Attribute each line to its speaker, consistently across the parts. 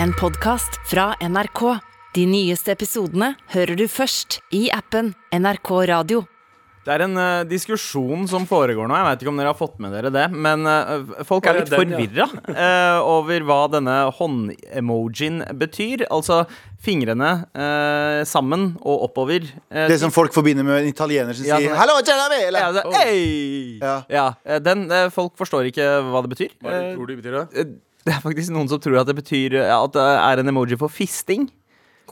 Speaker 1: En podcast fra NRK. De nyeste episodene hører du først i appen NRK Radio.
Speaker 2: Det er en eh, diskusjon som foregår nå. Jeg vet ikke om dere har fått med dere det. Men eh, folk
Speaker 3: Å,
Speaker 2: er
Speaker 3: ja,
Speaker 2: litt
Speaker 3: den, ja.
Speaker 2: forvirra eh, over hva denne håndemojien betyr. Altså fingrene eh, sammen og oppover. Eh,
Speaker 4: Det som folk forbinder med en italiener som
Speaker 2: Ja,
Speaker 4: sier
Speaker 2: sånn-
Speaker 4: 'hallo, Jeremy!'
Speaker 2: ja,
Speaker 4: Eller
Speaker 2: det, «Ei!»
Speaker 4: Ja.
Speaker 2: ja, eh, den, eh, folk forstår ikke hva det betyr.
Speaker 3: Hva er det du tror det betyr, da?
Speaker 2: Eh, det er faktisk noen som tror at det betyr eh, At det er en emoji for fisting.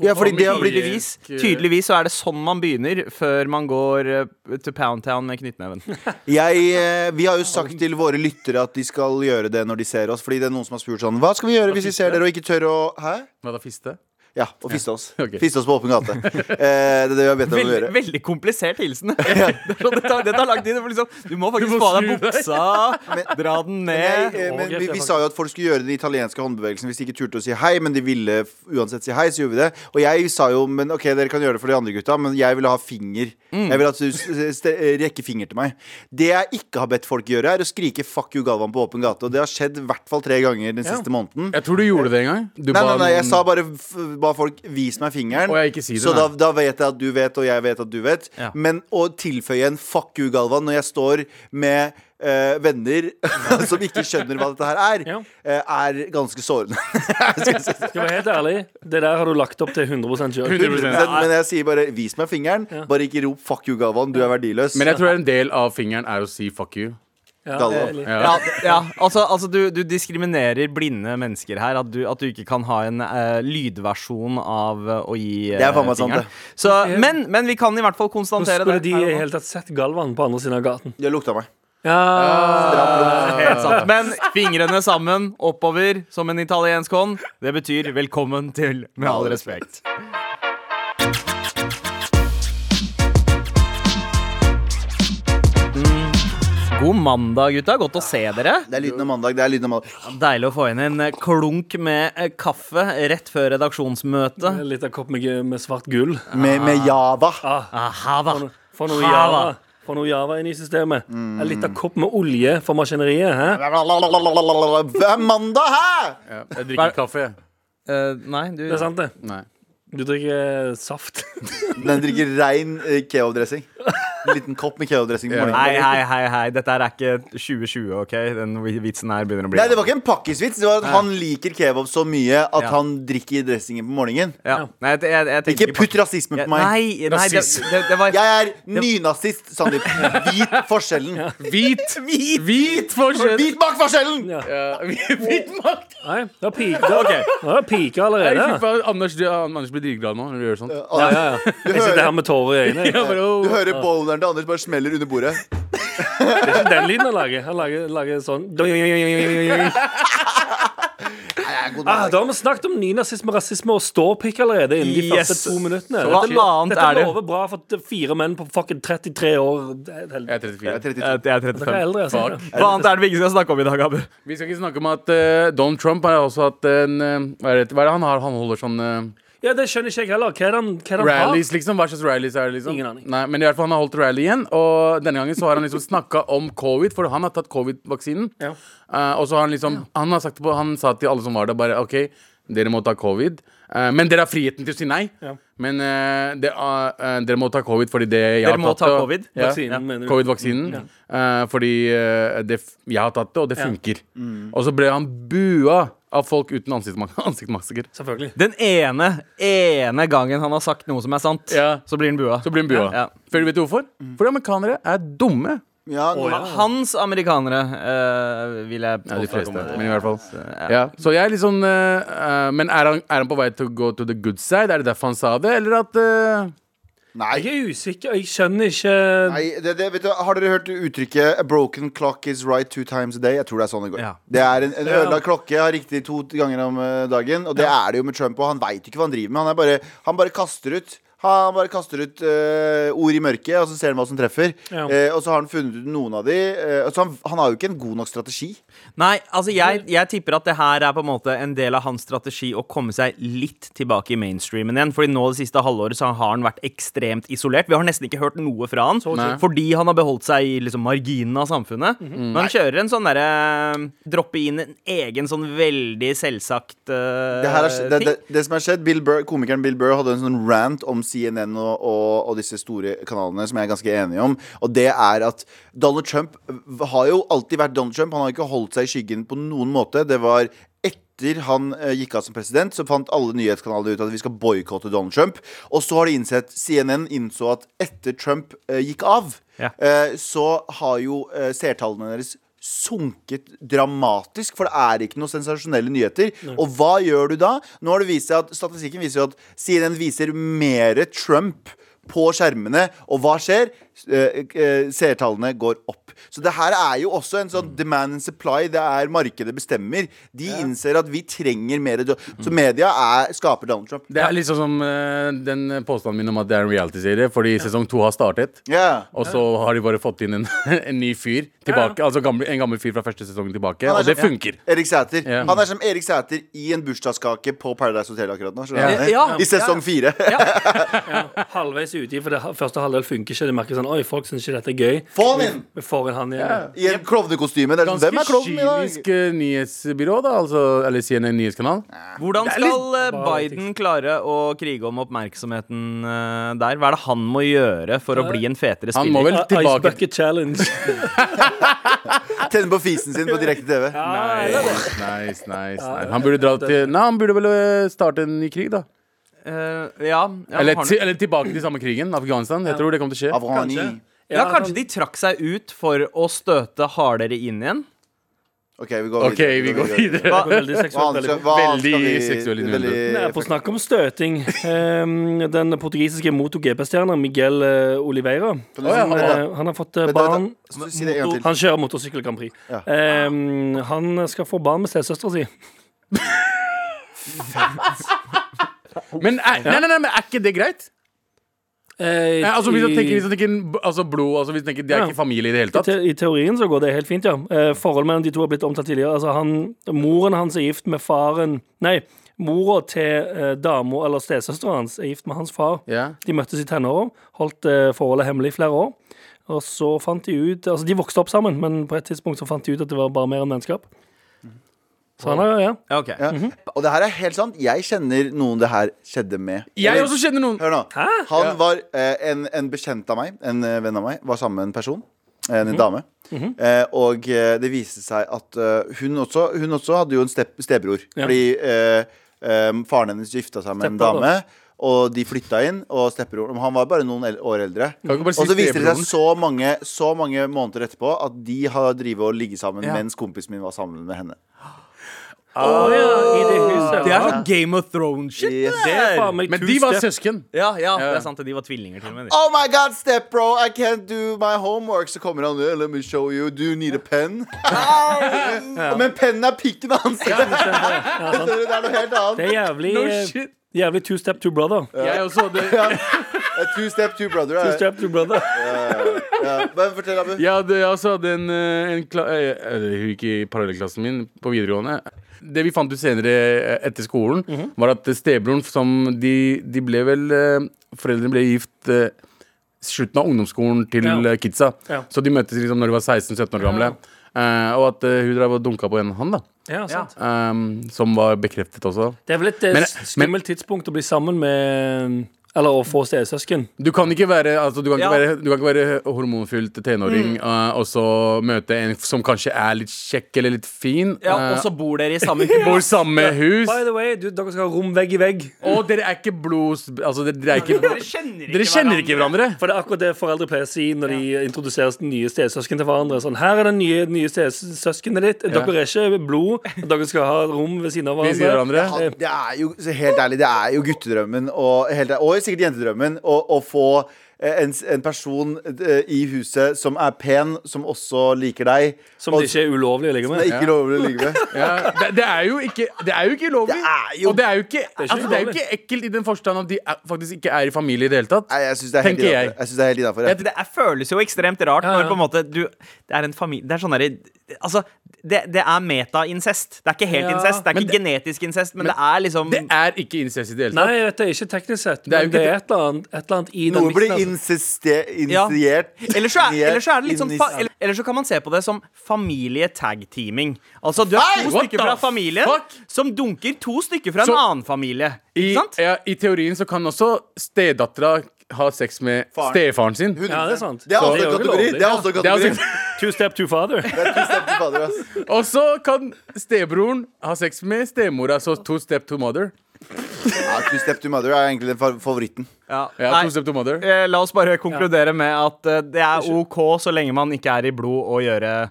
Speaker 4: Ja, fordi det har blitt
Speaker 2: Tydeligvis, tydeligvis så er det sånn man begynner før man går eh, til Poundtown med knyttneven.
Speaker 4: jeg, eh, Vi har jo sagt til våre lyttere at de skal gjøre det når de ser oss. Fordi det er noen som har spurt sånn 'Hva skal vi gjøre hvis vi ser dere og ikke tør å Hæ?
Speaker 3: Hva da, fiste?
Speaker 4: Ja, og fiste oss.
Speaker 3: ok.
Speaker 4: Fiste oss på åpen gate. Eh, det er det vi har bedt dem om å
Speaker 2: Veldig,
Speaker 4: gjøre.
Speaker 2: veldig komplisert hilsen. Det, er sånn, det, tar, det tar lang tid. det får Liksom, du må faktisk
Speaker 3: Du må
Speaker 2: få av deg
Speaker 3: snu deg.
Speaker 2: buksa, dra den
Speaker 4: Men, jeg,
Speaker 2: ned.
Speaker 4: eh, men
Speaker 3: Å, greit, det
Speaker 4: vi,
Speaker 3: er
Speaker 4: vi sa jo at folk skulle gjøre den italienske håndbevegelsen hvis de ikke turte å si hei, men de ville f- uansett si hei, så gjorde vi det. Og jeg sa jo men ok, dere kan gjøre det for de andre gutta, men jeg ville ha finger. Jeg ville at du s- s- ste- rekker finger til meg. Det jeg ikke har bedt folk gjøre, er å skrike 'fuck you, Galvan' på åpen gate. Og det har skjedd i hvert fall tre ganger den siste måneden.
Speaker 3: Jeg tror du gjorde det en gang. Du
Speaker 4: Nei,
Speaker 3: ba
Speaker 4: nei, nei, jeg
Speaker 3: noen-
Speaker 4: sa bare f ba folk vis meg fingeren.
Speaker 3: Å, jeg ikke si det,
Speaker 4: så da,
Speaker 3: nei.
Speaker 4: da vet jeg at du vet, og jeg vet at du vet.
Speaker 2: Ja.
Speaker 4: Men å tilføye en 'fuck you, Galvan' når jeg står med eh, venner som ikke skjønner hva dette her er,
Speaker 5: Ja.
Speaker 4: eh, er ganske sårende.
Speaker 5: Skal være helt ærlig, det der har du lagt opp til 100 sjøl.
Speaker 3: 100%.
Speaker 4: Men jeg sier bare 'vis meg fingeren', bare ikke rop 'fuck you, Galvan', du er verdiløs.
Speaker 3: Men jeg tror en del av fingeren er å si fuck you.
Speaker 4: Galvan.
Speaker 2: Ja, ja, altså, altså du, du diskriminerer blinde mennesker her. At du, at du ikke kan ha en eh, lydversjon av eh, å gi eh,
Speaker 4: Det er faen meg sant, det.
Speaker 2: Så, men, men vi kan i hvert fall
Speaker 5: Hvordan
Speaker 2: konstatere
Speaker 5: skulle
Speaker 2: det.
Speaker 5: de i hele tatt sett Galvan på andre siden av gaten?
Speaker 4: Det lukta meg.
Speaker 5: Ja,
Speaker 2: Helt sant. Eh, Men fingrene sammen, oppover, som en italiensk hånd, det betyr velkommen til Med all respekt. Mm. God mandag, gutta. Godt å se dere.
Speaker 4: Det er lyden av mandag. det er lyden av mandag
Speaker 2: Deilig å få inn en klunk med eh, kaffe rett før redaksjonsmøte.
Speaker 5: Litt av kopp med, med svart gull.
Speaker 4: Med, med Java.
Speaker 3: Ah.
Speaker 2: Aha, hva?
Speaker 5: Få noe
Speaker 2: Java.
Speaker 5: Java. Få noe Java inn i systemet. En liten kopp med olje for maskineriet. Hæ?
Speaker 4: Det er mandag, hæ?!
Speaker 3: Ja. Jeg drikker kaffe. jeg.
Speaker 2: Eh, nei, du
Speaker 5: Det er sant, det.
Speaker 3: Nei.
Speaker 5: Du drikker eh, saft.
Speaker 4: Den drikker rein eh, kebabdressing. En liten kopp med kebabdressing. på
Speaker 3: Ja.
Speaker 2: Hei,
Speaker 4: morgenen.
Speaker 2: hei, hei, hei. Dette er ikke 2020, OK? Den vitsen her begynner å bli
Speaker 4: Nei, det var ikke en pakkisvits. Det var at han liker kebab så mye at
Speaker 2: Ja.
Speaker 4: han drikker dressingen på morgenen.
Speaker 2: ja. Nei, jeg, jeg, jeg tenker
Speaker 4: Ikke putt rasisme på meg.
Speaker 2: Nei, nei det,
Speaker 3: Rasist.
Speaker 2: det, det var
Speaker 4: Jeg er nynazist, Sandeep. Hvit forskjellen.
Speaker 3: Hvit! Hvit, forskjell!
Speaker 4: Hvit bak forskjellen!
Speaker 5: Ja.
Speaker 3: Ja, hvit makt!
Speaker 5: Nei, det var pike okay. pike allerede.
Speaker 3: Nei, fy faen, Anders, du, Anders blir dritglad nå når du gjør sånt.
Speaker 5: Ja, ja, ja. Jeg sitter her med tårer i øynene.
Speaker 3: Jeg bare, «Åh».
Speaker 4: Du hører bowleren til Anders bare smeller under bordet.
Speaker 5: Det er ikke den lyden han lager. Han lager, lager sånn ah, Da har vi snakket om nynazisme, rasisme og ståpikk allerede innen de
Speaker 2: Yes.
Speaker 5: første to minuttene.
Speaker 2: Så hva annet
Speaker 5: dette
Speaker 2: er det?
Speaker 5: lover bra for t- fire menn på fucking 33 år. Det er helt-
Speaker 3: Jeg er 34.
Speaker 4: Jeg er
Speaker 2: Jeg
Speaker 4: 32.
Speaker 2: er
Speaker 5: Dere er
Speaker 2: 35.
Speaker 5: eldre, altså.
Speaker 2: Hva annet er det vi ikke skal snakke om i dag, Abu?
Speaker 3: Vi skal ikke snakke om at eh, Donald Trump har også hatt en eh, hva, er det, hva er det han har? Han holder sånn eh,
Speaker 5: Ja, det skjønner ikke jeg heller. Hva er det han, hva er det han har?
Speaker 3: rallies, liksom. Hva slags rallies er det? liksom?
Speaker 5: Ingen aning.
Speaker 3: Nei, men i hvert fall han har holdt rally igjen. Og denne gangen så har han liksom snakka om covid, for han har tatt covid-vaksinen.
Speaker 5: Ja.
Speaker 3: Eh, og så har han liksom han, har sagt, på- han sa til alle som var der, bare OK, dere må ta covid. eh, men dere har friheten til å si nei.
Speaker 5: Ja.
Speaker 3: Men eh, det, eh, dere må ta covid fordi det jeg
Speaker 2: Dere må
Speaker 3: har tatt
Speaker 2: ta
Speaker 3: og-
Speaker 2: covid.
Speaker 3: Ja.
Speaker 5: Vaksinen, mener du?
Speaker 3: Covid-vaksinen. eh, fordi eh, det, f- jeg har tatt det, og det funker. Og så ble han bua av folk uten ansiktsma- ansiktsmasker.
Speaker 5: Selvfølgelig.
Speaker 2: Den ene, ene gangen han har sagt noe som er sant,
Speaker 3: Ja.
Speaker 2: så blir han bua.
Speaker 3: Så ble han bua.
Speaker 2: Ja.
Speaker 3: For du vet du hvorfor? Fordi amerikanere er dumme.
Speaker 4: Ja, nå,
Speaker 2: Hans amerikanere, eh, vil jeg
Speaker 3: Ja, de
Speaker 2: påstå. Eh,
Speaker 3: fleste, men i hvert fall.
Speaker 2: Ja.
Speaker 3: Ja. Så jeg er litt sånn eh, eh, Men er han, er han på vei til å gå to the good side? Er det derfor han sa det, eller at eh,
Speaker 4: nei.
Speaker 5: Jeg er usikker. Jeg skjønner ikke
Speaker 4: Nei, det, det, vet du, har dere hørt uttrykket 'a broken clock is right two times a day'? Jeg tror det er sånn det går.
Speaker 2: Ja.
Speaker 4: Det er En, en ødelagt klokke har riktig to ganger om eh, dagen, og det er det jo med Trump. Og han veit ikke hva han driver med. Han, er bare, han bare kaster ut. Han bare kaster ut eh, ord i mørket, og så ser han hva som treffer.
Speaker 5: Ja.
Speaker 4: Eh, og så har han funnet ut noen av de. eh, så han, han har jo ikke en god nok strategi.
Speaker 2: Nei, altså jeg, jeg tipper at det her er på en måte en del av hans strategi å komme seg litt tilbake i mainstreamen igjen. Fordi nå det siste halvåret så har han vært ekstremt isolert. Vi har nesten ikke hørt noe fra han
Speaker 3: Nei.
Speaker 2: fordi han har beholdt seg i liksom marginen av samfunnet. Men han kjører en sånn derre Droppe inn en egen sånn veldig selvsagt eh,
Speaker 4: Det, her er, det,
Speaker 2: ting.
Speaker 4: det, det som har skjedd Bill Burr, Komikeren Bill Burr hadde en sånn rant om CNN og, og, og disse store kanalene, som jeg er ganske enig om. Og det er at Donald Trump har jo alltid vært Donald Trump. Han har ikke holdt seg i skyggen på noen måte. Det var etter han eh, gikk av som president, så fant alle nyhetskanalene ut at vi skal boikotte Donald Trump. Og så har de innsett CNN innså at etter Trump eh, gikk av,
Speaker 2: Ja.
Speaker 4: eh, så har jo eh, seertallene deres sunket dramatisk, for det er ikke noen sensasjonelle nyheter. Og hva gjør du da? Nå har det vist seg at Statistikken viser jo at CNN viser mer Trump på skjermene, og hva skjer? Eh, eh, Seertallene går opp. Så det her er jo også en sånn demand and supply. Det er markedet bestemmer. De innser at vi trenger mer do- Så media er, skaper Donald Trump.
Speaker 3: Det er litt sånn som eh, den påstanden min om at det er en reality-serie, fordi sesong to har startet.
Speaker 4: Ja.
Speaker 3: Og så har de bare fått inn en, en ny fyr tilbake. Altså gamle, en gammel fyr fra første sesongen tilbake.
Speaker 4: Han er
Speaker 3: Og det
Speaker 4: sånn-
Speaker 3: funker.
Speaker 4: Erik Sæter.
Speaker 3: Ja.
Speaker 4: Han er som Erik Sæter i en bursdagskake på Paradise Hotel akkurat nå. skjønner du hva jeg
Speaker 2: Ja.
Speaker 4: mener? I sesong fire.
Speaker 5: Halvveis uti, for det ha- første halvdel funker ikke. De merker sånn Oi, folk syns ikke dette er gøy.
Speaker 4: Få han inn!
Speaker 5: Vi får en uh, han igjen.
Speaker 4: I en klovnekostyme. Det er sånn, Hvem er
Speaker 3: Ganske
Speaker 4: klovnen i dag?
Speaker 3: kynisk eh, nyhetsbyrå, da. Altså, eller CNN nyhetskanal.
Speaker 2: Hvordan skal eh,
Speaker 5: Bare
Speaker 2: Biden klare å krige om oppmerksomheten eh, der? Hva er det han må gjøre for å bli en fetere
Speaker 3: Han må
Speaker 2: spiller?
Speaker 3: vel
Speaker 5: Ice
Speaker 3: tilbake
Speaker 5: Bucket Challenge.
Speaker 4: Tenne på fisen sin på direkte TV.
Speaker 3: Nice, nice, nice, nice. Han burde dra til Nei, han burde vel eh, starte en ny krig, da.
Speaker 2: Eh, ja, ja,
Speaker 3: Eller,
Speaker 2: har han-
Speaker 3: ti, eller tilbake til samme krigen, Afghanistan. Jeg tror det kommer til å skje.
Speaker 4: Avrani.
Speaker 2: Ja, sånn. kanskje de trakk seg ut for å støte hardere inn igjen.
Speaker 4: OK, vi går
Speaker 3: OK, vi går videre.
Speaker 5: Det er Veldig
Speaker 4: Hva
Speaker 5: seksuelt.
Speaker 4: annet
Speaker 5: Veldig
Speaker 4: skal- hva annet skal
Speaker 3: Veldig
Speaker 4: vi-
Speaker 3: seksuell
Speaker 4: veldig-
Speaker 5: Nei, på snakk om støting. Ehm, den portugisiske motor-GP-stjerna Miguel eh, Oliveira
Speaker 4: Kan du si
Speaker 5: han,
Speaker 4: noe om det?
Speaker 5: eh, han har fått eh,
Speaker 4: Men da- da-
Speaker 5: barn
Speaker 4: så Si det en gang til.
Speaker 5: Han kjører motorsykkel Grand Prix.
Speaker 4: Ja.
Speaker 5: Ehm, han skal få barn med stesøstera si.
Speaker 3: Men er, nei, nei, nei, men er ikke det greit?
Speaker 5: Eh,
Speaker 3: Nei, altså, hvis du
Speaker 5: i-
Speaker 3: tenker, hvis du tenker b- altså, blod altså, hvis du tenker, De er
Speaker 5: Ja.
Speaker 3: ikke familie i det hele
Speaker 5: I,
Speaker 3: tatt.
Speaker 5: te I teorien så går det helt fint, ja. Eh, forholdet mellom de to har blitt omtalt tidligere. Altså, han, moren hans er gift med faren Nei, mora til eh, dama eller stesøsteren hans er gift med hans far.
Speaker 3: Ja.
Speaker 5: De møttes i tenåra, holdt eh, forholdet hemmelig i flere år. Og så fant de ut Altså, de vokste opp sammen, men på et tidspunkt så fant de ut at det var bare mer enn vennskap. Så han har ja.
Speaker 2: Ja, ok.
Speaker 4: Ja. Og det her er helt sant. Jeg kjenner noen det her skjedde med.
Speaker 3: Jeg også kjenner noen.
Speaker 4: Hør nå. Han var eh, en, en bekjent av meg, en eh, venn av meg, var sammen med en person. En
Speaker 3: Mhm.
Speaker 4: dame. eh, og eh, det viste seg at eh, hun, også, hun også hadde jo en step, stebror.
Speaker 5: Ja.
Speaker 4: Fordi eh, eh, faren hennes gifta seg med en
Speaker 5: Stepbror, da.
Speaker 4: dame. Og de flytta inn, og stebror Han var bare noen el- år eldre.
Speaker 3: Kan ikke bare si
Speaker 4: og så viste det seg
Speaker 3: stebroren?
Speaker 4: så mange, så mange måneder etterpå at de har drevet og ligget sammen
Speaker 2: Ja.
Speaker 4: mens kompisen min var sammen med henne.
Speaker 5: Å, ja, i det huset.
Speaker 2: Det er sånn Game of Thrones-shit.
Speaker 4: Yes.
Speaker 2: det der.
Speaker 5: Faen meg
Speaker 3: Men
Speaker 5: to
Speaker 3: de var
Speaker 5: step.
Speaker 3: søsken.
Speaker 2: Ja, ja, det er sant. det. De var tvillinger til og med. de.
Speaker 4: Oh my god, stepbro, I can't do my homework. Så kommer han ned. Let me show you. Do you need a pen? Au! Men pennen er pikken hans. det er noe helt
Speaker 5: Det
Speaker 4: annet.
Speaker 5: er jævlig, eh, jævlig two step to brother.
Speaker 3: Jeg også hadde,
Speaker 4: A two step, two brother.
Speaker 5: Two
Speaker 4: er-
Speaker 5: step to brother.
Speaker 4: Ja. Men fortell, Abu.
Speaker 3: jeg hadde, jeg også hadde en, eh, en kla eh, eller, Hun gikk i parallellklassen min på videregående. Det vi fant ut senere eh, etter skolen, var at stebroren som de, de ble vel eh, Foreldrene ble gift eh, slutten av ungdomsskolen til
Speaker 5: Ja.
Speaker 3: eh, kidsa.
Speaker 5: Ja.
Speaker 3: Så de møttes liksom når de var 16-17 år gamle. Eh, og at eh, hun drev og dunka på en han, da.
Speaker 5: Ja, sant.
Speaker 3: Um, som var bekreftet også.
Speaker 5: Det er vel et eh,
Speaker 3: Men-
Speaker 5: skummelt tidspunkt å bli sammen med eh, Eller å få stesøsken.
Speaker 3: Du kan ikke være, altså, du kan ikke
Speaker 2: Ja.
Speaker 3: være, du kan ikke være hormonfylt tenåring eh, og så møte en som kanskje er litt kjekk eller litt fin.
Speaker 2: Ja,
Speaker 3: eh,
Speaker 2: Og så bor dere i samme
Speaker 3: Bor i
Speaker 2: hus.
Speaker 3: samme hus.
Speaker 5: By the way, du, dere skal ha rom vegg i vegg.
Speaker 3: Og dere er ikke blods... Altså, dere, dere er ikke
Speaker 2: Dere kjenner ikke
Speaker 3: Dere kjenner ikke hverandre.
Speaker 5: For det er akkurat det foreldre pleier å si når de introduserer nye stesøsken til hverandre. Sånn, her er det nye, nye stesøskenet ditt. Dere er ikke blod. Dere skal ha rom ved siden av
Speaker 3: Vi sier
Speaker 5: hverandre.
Speaker 3: hverandre.
Speaker 4: Ja, det er jo så helt ærlig, det er jo guttedrømmen og, helt, ærlig- og sikkert jentedrømmen å å få eh, en, s- en person eh, i huset som er pen, som også liker deg.
Speaker 5: Som det ikke er ulovlig å ligge
Speaker 4: Det er
Speaker 5: med.
Speaker 4: ikke lov å ligge med.
Speaker 3: Ja, det, det er jo ikke Det er jo ikke ulovlig.
Speaker 4: Det er jo-
Speaker 3: Og det er jo ikke,
Speaker 5: er ikke
Speaker 3: altså, det er jo
Speaker 5: ulovlig.
Speaker 3: ikke ekkelt i den forstand at de er, faktisk ikke er i familie i det hele tatt.
Speaker 4: Nei, jeg syns det er helt
Speaker 3: Tenker jeg.
Speaker 4: innafor. Jeg synes det er helt innenfor, jeg.
Speaker 2: Det, det er, føles jo ekstremt rart
Speaker 3: Ja, ja.
Speaker 2: når på en måte du Det er en familie Det er sånn derre Altså, det, det er meta-incest. Det er ikke helt
Speaker 5: Ja,
Speaker 2: incest. Det er
Speaker 3: men
Speaker 2: ikke
Speaker 3: det-
Speaker 2: genetisk incest, men, det er liksom
Speaker 3: Det er ikke incest i det hele
Speaker 5: Nei,
Speaker 3: tatt.
Speaker 5: dette er ikke teknisk sett,
Speaker 3: er jo
Speaker 5: men det
Speaker 3: ikke
Speaker 5: er et eller annet, et eller annet i den
Speaker 4: Noe blir
Speaker 5: miksen, altså.
Speaker 4: insiste-
Speaker 2: Ja.
Speaker 4: initiert.
Speaker 2: Ellers så, er, ellers så er det litt sånn
Speaker 4: Inni-
Speaker 2: fa, eller, eller så kan man se på det som familie-tag-teaming. Altså, du er to
Speaker 3: what
Speaker 2: stykker
Speaker 3: the
Speaker 2: fra familien
Speaker 3: fuck?
Speaker 2: som dunker to stykker fra en
Speaker 3: Så-
Speaker 2: annen familie.
Speaker 3: I,
Speaker 2: Ikke sant?
Speaker 3: ja, I teorien så kan også stedattera ha sex med
Speaker 4: Faren.
Speaker 3: stefaren sin.
Speaker 5: Ja, det er sant.
Speaker 4: Det er også
Speaker 5: Det
Speaker 4: en
Speaker 5: er jo
Speaker 4: kategori.
Speaker 5: ulovlig,
Speaker 4: Det er også en
Speaker 3: Det er
Speaker 4: kategori.
Speaker 3: altså-
Speaker 5: Two step to father.
Speaker 4: Det er tusen takk til fader, ass.
Speaker 3: Og så kan stebroren ha sex med stemora, så to step to mother.
Speaker 4: Ja, Two Step to Mother er egentlig den fa- favoritten.
Speaker 2: Ja.
Speaker 3: Ja,
Speaker 2: Nei,
Speaker 3: to step to mother
Speaker 2: eh, la oss bare konkludere med at eh, det er OK så lenge man ikke er i blod å gjøre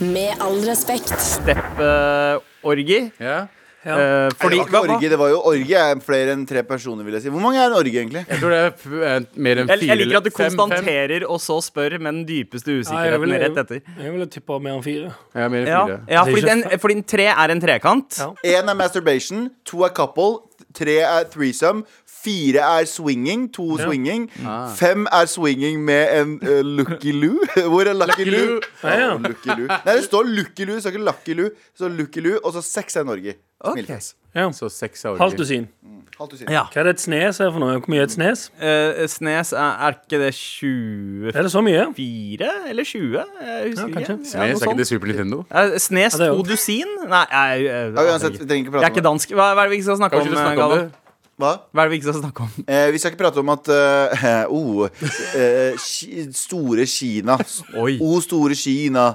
Speaker 1: Med all respekt.
Speaker 2: stepp-orgi.
Speaker 3: Ja.
Speaker 2: Eh, fordi
Speaker 4: Fordi, det var ikke orgi, det var jo orgi er flere enn tre personer, vil jeg si. Hvor mange er en orgi, egentlig?
Speaker 3: Jeg tror det er f- eh, mer enn
Speaker 2: jeg,
Speaker 3: fire
Speaker 2: jeg liker at du
Speaker 3: fem- fem.
Speaker 2: konstanterer og så spør med den dypeste
Speaker 5: Ja, jeg
Speaker 2: usikkerheten
Speaker 5: vil-
Speaker 2: rett etter.
Speaker 5: Jeg ville tippa mer enn fire.
Speaker 3: Ja, mer enn
Speaker 2: Ja,
Speaker 3: fire.
Speaker 2: ja fordi, den, fordi en tre er en trekant.
Speaker 5: Ja.
Speaker 4: Én er masturbation, to er couple, tre er threesome, fire er swinging, to swinging,
Speaker 2: Ah.
Speaker 4: fem er swinging med en eh, Lucky Lou. Hvor er Lucky,
Speaker 3: Lucky
Speaker 4: Lou?
Speaker 3: Lou.
Speaker 4: Ja, Lucky Lou. Nei, det står Lucky Lou, det står ikke Lucky Lou. Det står Lucky Lou, og så seks er en orgi. Smilefjes.
Speaker 5: Ja.
Speaker 3: Så seks av
Speaker 5: Halvt dusin.
Speaker 4: Halvt dusin.
Speaker 2: Ja.
Speaker 5: Hva er det et snes er for noe? Hvor mye er et snes?
Speaker 2: Eh, Snes, er, er ikke det 24
Speaker 5: Er det så mye?
Speaker 2: eller 20? Jeg husker
Speaker 5: kanskje.
Speaker 2: ikke. Ja,
Speaker 3: Snes,
Speaker 2: noe
Speaker 3: er ikke
Speaker 2: sånt.
Speaker 3: det Super Nintendo?
Speaker 2: Eh, Snes
Speaker 5: Ja, det er
Speaker 2: to
Speaker 5: jo-
Speaker 2: dusin? Nei, jeg, jeg,
Speaker 4: Ja, uansett, vi trenger ikke
Speaker 2: jeg er
Speaker 4: prate
Speaker 2: ikke
Speaker 4: om det.
Speaker 2: dansk. Hva, hva er det vi ikke skal snakke
Speaker 3: Kan
Speaker 2: om?
Speaker 3: ikke du snakke om
Speaker 2: Galvan?
Speaker 3: det?
Speaker 4: Hva?
Speaker 2: Hva er det vi ikke skal snakke om?
Speaker 4: Eh, vi skal ikke prate om at eh, oh, eh, Ki- Store Kina.
Speaker 2: Oi.
Speaker 4: O store Kina.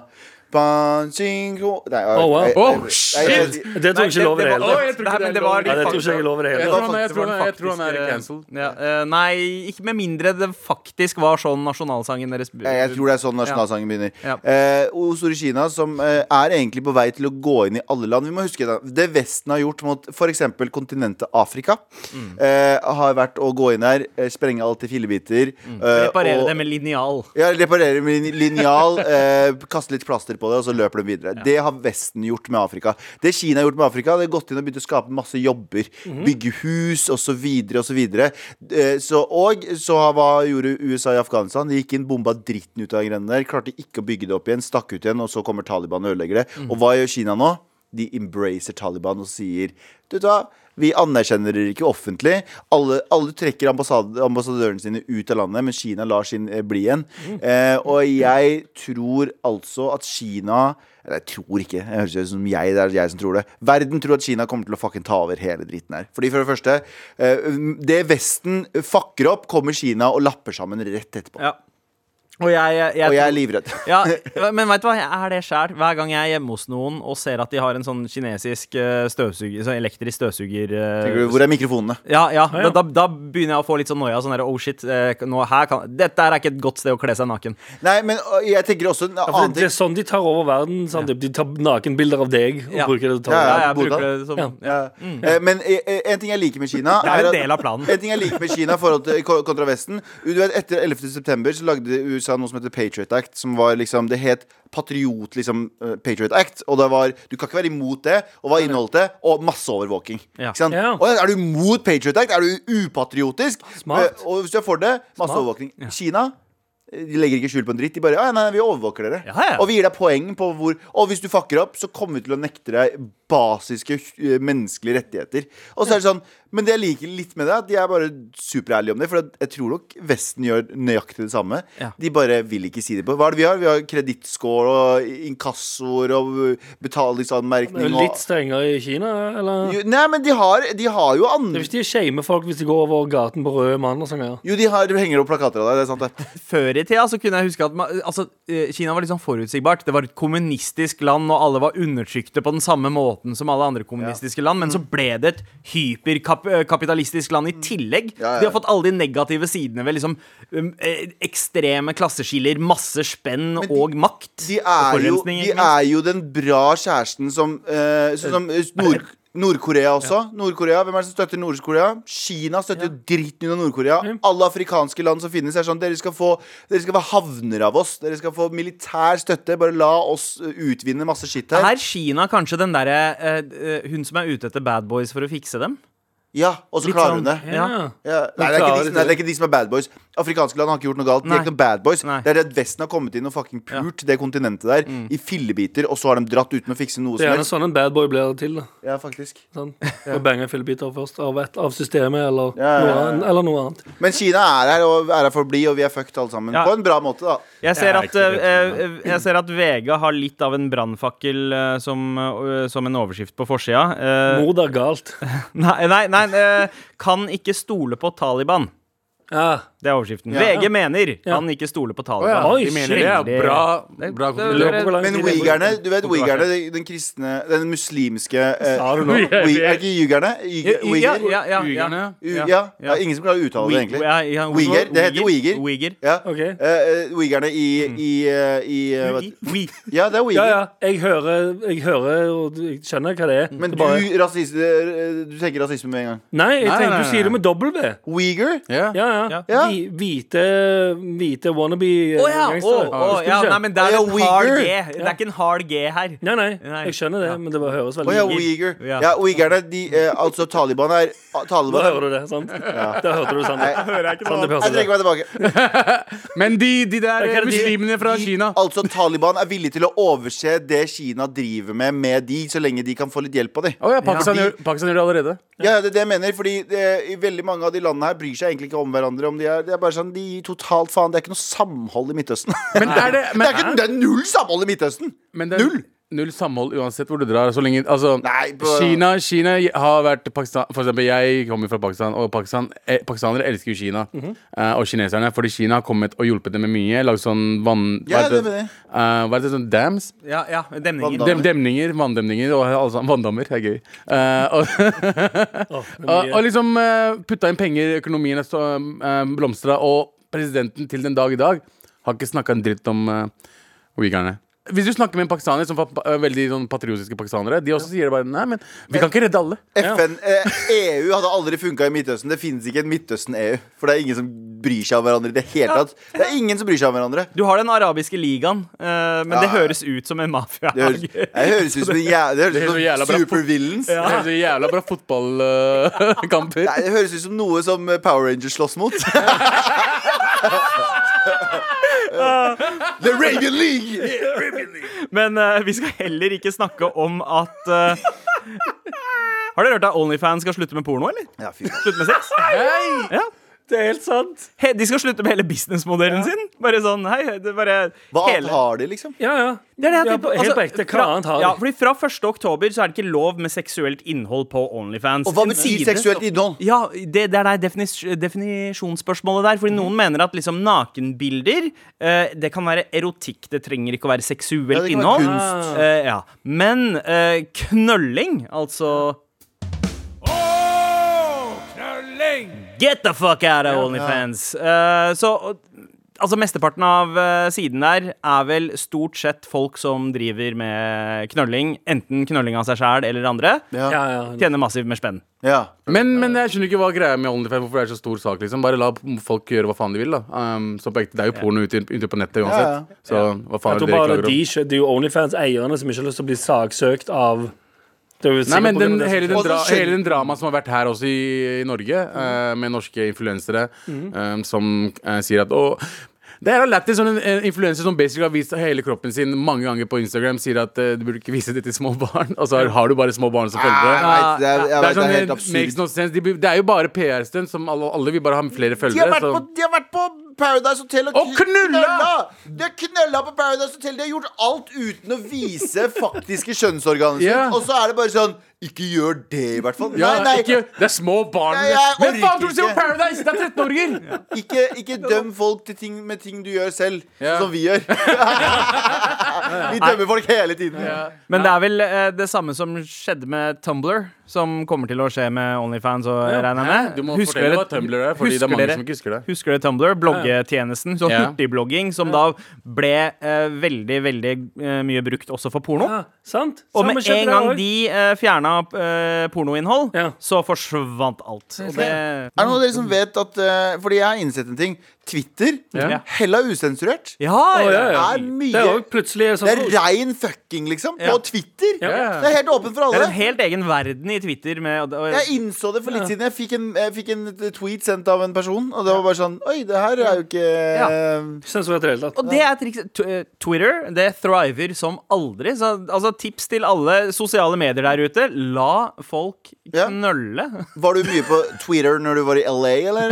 Speaker 4: Ban, jing, ho- Nei, jeg-
Speaker 5: Oh, wow.
Speaker 4: jeg- jeg-
Speaker 3: Oh,
Speaker 4: jeg-
Speaker 3: shit!
Speaker 4: jeg-
Speaker 5: Det tror jeg ikke er lov i det hele
Speaker 3: Oi,
Speaker 5: tatt.
Speaker 2: Nei,
Speaker 3: jeg tror ikke det er
Speaker 2: men det
Speaker 3: lov.
Speaker 2: var
Speaker 5: Ja, det tror
Speaker 2: faktisk-
Speaker 5: jeg ikke er lov i det
Speaker 3: Jeg
Speaker 5: hele
Speaker 3: tror
Speaker 5: tatt.
Speaker 4: var
Speaker 3: han er, jeg
Speaker 2: det var
Speaker 3: tror
Speaker 2: den
Speaker 3: han er, jeg tror han er
Speaker 2: faktiske-
Speaker 3: cancelled.
Speaker 2: Ja, eh, nei, ikke med mindre det faktisk var sånn nasjonalsangen deres
Speaker 4: jeg- jeg tror det er sånn nasjonalsangen begynner.
Speaker 2: Ja.
Speaker 4: Eh, o store Kina, som eh, er egentlig på vei til å gå inn i alle land. Vi må huske det. Det Vesten har gjort mot f.eks. kontinentet Afrika,
Speaker 2: Mm.
Speaker 4: eh, har vært å gå inn her, eh, sprenge alt i fillebiter. eh,
Speaker 2: Mm. Reparere
Speaker 4: og-
Speaker 2: det med linjal.
Speaker 4: Ja, reparere med lin- linjal, eh, kaste litt plaster på det, og så løper de videre. Det har Vesten gjort med Afrika. Det Kina har gjort med Afrika, det har gått inn og begynt å skape masse jobber. Bygge hus, osv., videre Og, så videre. eh, så, og så hva gjorde USA i Afghanistan? De gikk inn, bomba dritten ut av greiene der. Klarte ikke å bygge det opp igjen, stakk ut igjen, og så kommer Taliban og ødelegger det. Og hva gjør Kina nå? De embracer Taliban og sier Du vet hva? Vi anerkjenner dere ikke offentlig. Alle, alle trekker ambassad, ambassadørene sine ut av landet, men Kina lar sin eh, bli igjen. Eh, og jeg tror altså at Kina Eller jeg tror ikke, jeg høres ut som jeg, det er jeg som tror det. Verden tror at Kina kommer til å fucking ta over hele dritten her. Fordi for det første, eh, det Vesten fucker opp, kommer Kina og lapper sammen rett etterpå.
Speaker 2: Ja. Og jeg, jeg,
Speaker 4: Og jeg er livredd.
Speaker 2: ja, men vet du hva, jeg er det sjæl. Hver gang jeg er hjemme hos noen og ser at de har en sånn kinesisk eh, støvsuger, sånn elektrisk støvsuger eh,
Speaker 4: Tenker du, Hvor er mikrofonene?
Speaker 2: Ja, ja.
Speaker 5: ja.
Speaker 2: Da, da, da begynner jeg å få litt sånn noia. Sånn der, oh shit, eh, nå, her kan, dette her er ikke et godt sted å kle seg naken.
Speaker 4: Nei, men ø, jeg tenker også en
Speaker 5: For
Speaker 4: annen
Speaker 5: det, det
Speaker 4: ting.
Speaker 5: er sånn de tar over verden. Sandeep. De tar nakenbilder av deg og
Speaker 2: Ja.
Speaker 5: bruker det til å ta
Speaker 4: Ja, ja.
Speaker 5: over
Speaker 2: Ja,
Speaker 5: verden.
Speaker 2: jeg
Speaker 4: Buddha.
Speaker 2: bruker det som
Speaker 5: Ja.
Speaker 2: ja.
Speaker 4: Eh, Men eh, eh, en ting jeg liker med Kina
Speaker 2: Mm. Det er jo
Speaker 4: at-
Speaker 2: en del av planen.
Speaker 4: En ting jeg liker med Kina i forhold til ko- kontra Vesten Du vet, Etter 11. september så lagde USA noe som heter Patriot Act. Som var liksom, Det het Patriot liksom, eh, Patriot Act. Og det var, du kan ikke være imot det. Og hva inneholdt det? Og masseovervåking.
Speaker 2: Ja.
Speaker 4: Ikke sant?
Speaker 5: Ja.
Speaker 4: Og er du imot Patriot Act? Er du upatriotisk?
Speaker 5: Smart.
Speaker 4: Eh, Og hvis du er for det, masseovervåking. Kina eh, de legger ikke skjul på en dritt. De bare «Å, ja, nei, vi overvåker dere.
Speaker 2: Ja, ja.
Speaker 4: Og vi gir deg poeng på hvor Og hvis du fucker opp, så kommer vi til å nekte deg basiske eh, menneskelige rettigheter. Og så er det sånn Men det jeg liker litt med det, er at de er bare superærlige om det. For at jeg tror nok Vesten gjør nøyaktig det samme.
Speaker 2: Ja.
Speaker 4: De bare vil ikke si det på. Hva er det vi har? Vi har kredittscore og inkassoer og
Speaker 5: Det er
Speaker 4: betalingsanmerkning
Speaker 5: jo
Speaker 4: og
Speaker 5: litt strengere i Kina, eller?
Speaker 4: Jo, Nei, men de har, de har jo andre
Speaker 5: Hvis de shamer folk hvis de går over gaten på røde mann og sånn greier.
Speaker 4: Jo, de har, henger opp plakater av deg. Det er sant, det.
Speaker 2: Før i tida så kunne jeg huske at man, altså, eh, Kina var litt sånn forutsigbart. Det var et kommunistisk land, og alle var undertrykte på den samme måten som alle andre kommunistiske land. Men så
Speaker 4: Mm.
Speaker 2: ble det et hyperkapitalistisk land i tillegg.
Speaker 4: Ja, ja.
Speaker 2: Så de har fått alle de negative sidene ved liksom um, eh, ekstreme klasseskiller, masse spenn
Speaker 4: de-
Speaker 2: og makt.
Speaker 4: De er,
Speaker 2: og
Speaker 4: jo,
Speaker 2: forurensning,
Speaker 4: de
Speaker 2: ikke minst.
Speaker 4: er jo den bra kjæresten som eh, Sånn som eh, nord... Nord-Korea også. Nord-Korea, Hvem er det som støtter Nord-Korea? Kina støtter jo dritten ut av Nord-Korea. Alle afrikanske land som finnes, er sånn dere skal, få, dere skal få havner av oss. Dere skal få militær støtte. Bare la oss eh, utvinne masse skitt her.
Speaker 2: Er Kina kanskje den derre eh, eh, Hun som er ute etter bad boys for å fikse dem?
Speaker 4: Ja, Og så
Speaker 2: Litt
Speaker 4: klarer
Speaker 2: sånn,
Speaker 4: hun det.
Speaker 2: Ja.
Speaker 4: Ja. Nei, det er, ikke
Speaker 5: klarer
Speaker 4: de,
Speaker 5: det.
Speaker 4: nei, det er ikke de som er bad boys. Afrikanske land har ikke gjort noe galt. De
Speaker 2: Nei.
Speaker 4: er ikke noen bad boys
Speaker 2: Nei. Mm.
Speaker 4: Det er det at Vesten har kommet inn og fucking pult det kontinentet der i fillebiter, og så har de dratt uten å fikse noe
Speaker 5: Det er
Speaker 4: som
Speaker 5: gjerne
Speaker 4: helst.
Speaker 5: sånn en bad boy blir til. da
Speaker 4: Ja, faktisk
Speaker 5: sånn. Og banger fillebiter først av, et, av systemet eller,
Speaker 4: Ja, ja, ja.
Speaker 5: Noe, annet- eller noe annet.
Speaker 4: Men Kina er her, og er her for å bli, og vi er fucked alle sammen.
Speaker 2: Ja.
Speaker 4: På en bra måte, da.
Speaker 2: Jeg ser,
Speaker 3: Jeg er
Speaker 2: at,
Speaker 3: ikke redd
Speaker 2: eh, jeg ser at VG har litt av en brannfakkel eh, som, eh, som en overskrift på forsida. Eh,
Speaker 5: Mord er galt.
Speaker 2: nei, nei, nei eh, Kan ikke stole på Taliban.
Speaker 5: Ja.
Speaker 2: Det er overskriften.
Speaker 4: Ja.
Speaker 2: VG mener
Speaker 5: Ja.
Speaker 2: kan ikke stole på
Speaker 3: Å ja,
Speaker 2: Taliban.
Speaker 5: Oi,
Speaker 3: de mener det.
Speaker 2: veldig-
Speaker 3: er Bra, bra
Speaker 2: det-
Speaker 5: Lurer på
Speaker 3: kontroll.
Speaker 5: hvor lang
Speaker 4: Men
Speaker 5: tid det-
Speaker 4: uigerne, du vet uigerne, de- den kristne Den muslimske eh,
Speaker 5: Sa du nå?
Speaker 4: ui- Er det ikke jugerne? Uiger?
Speaker 2: Ja, ja, ja, ja.
Speaker 3: Ugerne.
Speaker 4: U- ja. Det er ingen som klarer å uttale det, egentlig.
Speaker 2: Ja, ja,
Speaker 4: Uiger? Det heter uiger.
Speaker 2: Uiger.
Speaker 4: Ja.
Speaker 5: Ok.
Speaker 4: Eh, eh, Uigerne i, i, eh, i eh, hva-
Speaker 2: Ui-
Speaker 4: Ja, det er
Speaker 5: Ja,
Speaker 4: uiger.
Speaker 5: ja. Jeg hører, jeg hører og jeg skjønner hva det er.
Speaker 4: Men
Speaker 5: det
Speaker 4: du,
Speaker 5: er bare,
Speaker 4: rasist, eh, du tenker rasisme med en gang.
Speaker 5: nei, jeg
Speaker 3: Nei,
Speaker 5: tenker,
Speaker 3: nei,
Speaker 5: du
Speaker 3: nei,
Speaker 5: sier
Speaker 3: nei.
Speaker 5: det med dobbel V.
Speaker 4: Uyghur?
Speaker 3: Ja.
Speaker 5: Ja, ja.
Speaker 2: Ja.
Speaker 4: Ja.
Speaker 5: Vi- Hvite, hvite wannabe eh,
Speaker 2: Å ja! å,
Speaker 5: gangstere.
Speaker 2: å, ja.
Speaker 5: Husker du ikke?
Speaker 2: Nei, men det er
Speaker 4: Ja,
Speaker 2: en hard
Speaker 4: uiger.
Speaker 2: G. Det er ikke en hard G her.
Speaker 5: nei, nei,
Speaker 2: Nei.
Speaker 5: jeg skjønner det, men det bare høres
Speaker 4: Å
Speaker 5: veldig
Speaker 4: ja,
Speaker 5: ut.
Speaker 4: uiger.
Speaker 2: Ja.
Speaker 4: Ja, uigerne, de eh, Altså, Taliban er
Speaker 5: Da
Speaker 4: Taliban
Speaker 5: hører du det, sant? Da hørte du sant. Sandeep
Speaker 4: Jeg
Speaker 5: hørte det.
Speaker 4: trekker meg tilbake.
Speaker 3: Men de, de der
Speaker 5: Ok, de-
Speaker 3: muslimene fra Kina
Speaker 4: Altså Taliban er villig til å overse det Kina driver med med de, så lenge de kan få litt hjelp av de.
Speaker 3: Å ja, Pakistan, Gjør, Pakistan gjør det allerede.
Speaker 4: Ja, det er det jeg mener, fordi eh, i veldig mange av de landene her bryr seg egentlig ikke om hverandre. Om de er, det er bare sånn, de gir totalt faen. Det er ikke noe samhold i Midtøsten.
Speaker 3: Men er det,
Speaker 4: det,
Speaker 3: men,
Speaker 4: er ikke, det er null samhold i Midtøsten!
Speaker 3: men det er null. Null samhold uansett hvor du drar. Så lenge, altså,
Speaker 4: Nei, på-
Speaker 3: Kina, Kina har vært Pakistan For eksempel, jeg kommer fra Pakistan, og Pakistan, eh, pakistanere elsker jo Kina.
Speaker 4: Mhm.
Speaker 3: eh, og kineserne. Fordi Kina har kommet og hjulpet dem med mye. Lagd sånn vann...
Speaker 4: Ja,
Speaker 3: hva heter
Speaker 4: det mener jeg.
Speaker 3: Eh, hva heter det sånn dams?
Speaker 2: Ja, ja, Demninger.
Speaker 4: Vandal.
Speaker 3: Dem, demninger, vanndemninger og alle sammen. Vanndammer er gøy. Eh, og,
Speaker 5: Åh, det er
Speaker 3: og,
Speaker 5: mye.
Speaker 3: og liksom eh, putta inn penger, økonomien er så, eh, blomstra, og presidenten til den dag i dag har ikke snakka en dritt om uh, uigerne. Hvis du snakker med en pakistaner som var pa- eh, veldig sånn patriotiske pakistanere, de også sier det bare Nei, men vi kan ikke redde alle.
Speaker 4: FN, eh, EU hadde aldri funka i Midtøsten. Det finnes ikke en Midtøsten-EU. For det er ingen som bryr seg om hverandre i det hele tatt. Det er ingen som bryr seg om hverandre.
Speaker 2: Du har Den arabiske ligaen, eh, men det
Speaker 4: Ja.
Speaker 2: høres ut som en mafia.
Speaker 4: Det høres, jeg høres ut som en jæ- det
Speaker 3: Det er
Speaker 4: høres
Speaker 3: så jævla
Speaker 4: ut
Speaker 3: bra.
Speaker 4: som supervillains.
Speaker 3: Det er så jævla bra eh, fotballkamper.
Speaker 4: Nei, det høres ut som noe som eh, Power Rangers slåss mot. The Raven League!
Speaker 2: Men eh, vi skal heller ikke snakke om at eh, Har dere hørt at Onlyfans skal slutte med porno, eller?
Speaker 4: Ja, fy faen.
Speaker 2: Slutte med sex? Ja.
Speaker 5: Det er helt sant.
Speaker 2: He, de skal slutte med hele businessmodellen sin. Bare sånn, hei, det er bare
Speaker 4: Hva
Speaker 2: hele.
Speaker 4: annet har de, liksom?
Speaker 5: Ja, ja.
Speaker 2: Det er det jeg
Speaker 5: Ja,
Speaker 2: tenker på.
Speaker 5: helt
Speaker 2: Altså,
Speaker 5: på ekte, hva
Speaker 2: fra-
Speaker 5: annet har de?
Speaker 2: Ja, fordi Fra 1. oktober så er det ikke lov med seksuelt innhold på Onlyfans.
Speaker 4: Og hva
Speaker 2: En
Speaker 4: betyr
Speaker 2: side-
Speaker 4: seksuelt innhold?
Speaker 2: Ja, det, det er det definis definisjonsspørsmålet der.
Speaker 4: Mhm.
Speaker 2: Fordi noen mener at liksom nakenbilder eh, Det kan være erotikk. Det trenger ikke å være
Speaker 4: Ja,
Speaker 2: seksuelt
Speaker 4: det kan være
Speaker 2: innhold.
Speaker 4: kunst.
Speaker 2: Eh, ja. Men eh, knølling, altså Get the fuck out of Onlyfans. Eh, så og- Altså, Mesteparten av eh, siden der er vel stort sett folk som driver med knølling. Enten knølling av seg sjæl eller andre.
Speaker 3: liksom.
Speaker 5: Ja,
Speaker 4: Ja.
Speaker 5: ja.
Speaker 2: Tjener massivt med spenn.
Speaker 4: ja.
Speaker 3: Men, men jeg skjønner ikke hva greia er med OnlyFans. Hvorfor det er så stor sak liksom Bare la folk gjøre hva faen de vil. da um, så på ekte, Det er jo porno ute, ute på nettet uansett. Så hva faen
Speaker 5: Jeg
Speaker 3: er det
Speaker 5: tror
Speaker 3: dere
Speaker 5: bare
Speaker 3: klager
Speaker 5: de
Speaker 3: om?
Speaker 5: skjø- Det er jo Onlyfans-eierne som ikke har lyst til å bli saksøkt av det er jo
Speaker 3: Nei,
Speaker 5: sikkert
Speaker 3: men
Speaker 5: på
Speaker 3: den,
Speaker 5: grunn av det som
Speaker 3: hele, den
Speaker 4: Og så Mm.
Speaker 3: dra,
Speaker 4: skjønner-
Speaker 3: hele den drama som har vært her også i, i Norge, eh, med norske influensere
Speaker 4: Mm.
Speaker 3: eh, som eh, sier at å, det her er lættis. Sånn en, en influenser som basically har vist hele kroppen sin mange ganger på Instagram, sier at eh, du burde ikke vise det til små barn. Og så har- har du bare små barn som følgere.
Speaker 4: Jeg vet, Ah, det er, jeg
Speaker 3: Det
Speaker 4: vet,
Speaker 3: er,
Speaker 4: det er
Speaker 3: sånn,
Speaker 4: helt
Speaker 3: det makes
Speaker 4: absurd.
Speaker 3: no sense. De, blir- det er jo bare PR-stunt. som Alle, alle vil bare ha flere
Speaker 4: De har,
Speaker 3: følgere.
Speaker 4: vært på,
Speaker 3: Så.
Speaker 4: de har vært på Paradise Hotel og,
Speaker 3: Og
Speaker 4: kn-
Speaker 3: knulla!
Speaker 4: De har knølla på Paradise Hotel. De har gjort alt uten å vise faktiske kjønnsorganer. sine.
Speaker 3: Ja.
Speaker 4: Og så er det bare sånn Ikke gjør det, i hvert fall.
Speaker 3: Ja,
Speaker 4: nei, nei,
Speaker 3: Ikke, det er små barn.
Speaker 4: Nei, jeg
Speaker 3: Men
Speaker 4: orker
Speaker 3: faen tror du ser på
Speaker 4: ikke.
Speaker 3: Paradise? Det er 13-åringer!
Speaker 4: Ikke, ikke døm folk til ting med ting du gjør selv,
Speaker 3: Ja.
Speaker 4: som vi gjør. vi dømmer folk hele tiden.
Speaker 2: Men det er vel eh, det samme som skjedde med Tumblr, som kommer til å skje med Onlyfans. Og regner jeg med
Speaker 3: Du må fortelle hva Tumblr er, fordi det er
Speaker 2: husker
Speaker 3: mange
Speaker 2: dere-
Speaker 3: som ikke husker det.
Speaker 2: Husker dere Tumblr? Bloggetjenesten. Så
Speaker 3: Ja.
Speaker 2: hurtigblogging, som da ble eh, veldig, veldig eh, mye brukt også for porno.
Speaker 5: Ja, sant?
Speaker 2: Og
Speaker 5: Samme
Speaker 2: med
Speaker 5: skjedde
Speaker 2: en
Speaker 5: der
Speaker 2: gang
Speaker 5: også.
Speaker 2: de uh, fjerna eh, pornoinnhold,
Speaker 5: Ja.
Speaker 2: så forsvant alt. Og det
Speaker 4: Er det noen av dere som vet at eh, Fordi jeg har innsett en ting. Twitter,
Speaker 3: Ja.
Speaker 4: hella usensurert,
Speaker 2: Ja, ja, ja.
Speaker 4: er mye
Speaker 5: Det er jo plutselig
Speaker 4: Det
Speaker 5: sånn
Speaker 4: er rein fucking, liksom. På
Speaker 2: Ja.
Speaker 4: Twitter.
Speaker 3: Ja.
Speaker 4: Det er helt åpent for
Speaker 2: Det er en
Speaker 4: alle.
Speaker 2: helt egen verden i Twitter med og, og,
Speaker 4: Jeg innså det for litt siden. Jeg fikk, en, jeg fikk en tweet sendt av en person, og det var bare sånn Oi, det her er jo ikke eh,
Speaker 5: sensurert i det hele tatt.
Speaker 2: Og det er trikset. Tw- eh, Twitter det thriver som aldri. Så altså, tips til alle sosiale medier der ute. La folk
Speaker 4: Ja.
Speaker 2: knølle.
Speaker 4: Var du mye på Twitter når du var i LA, eller?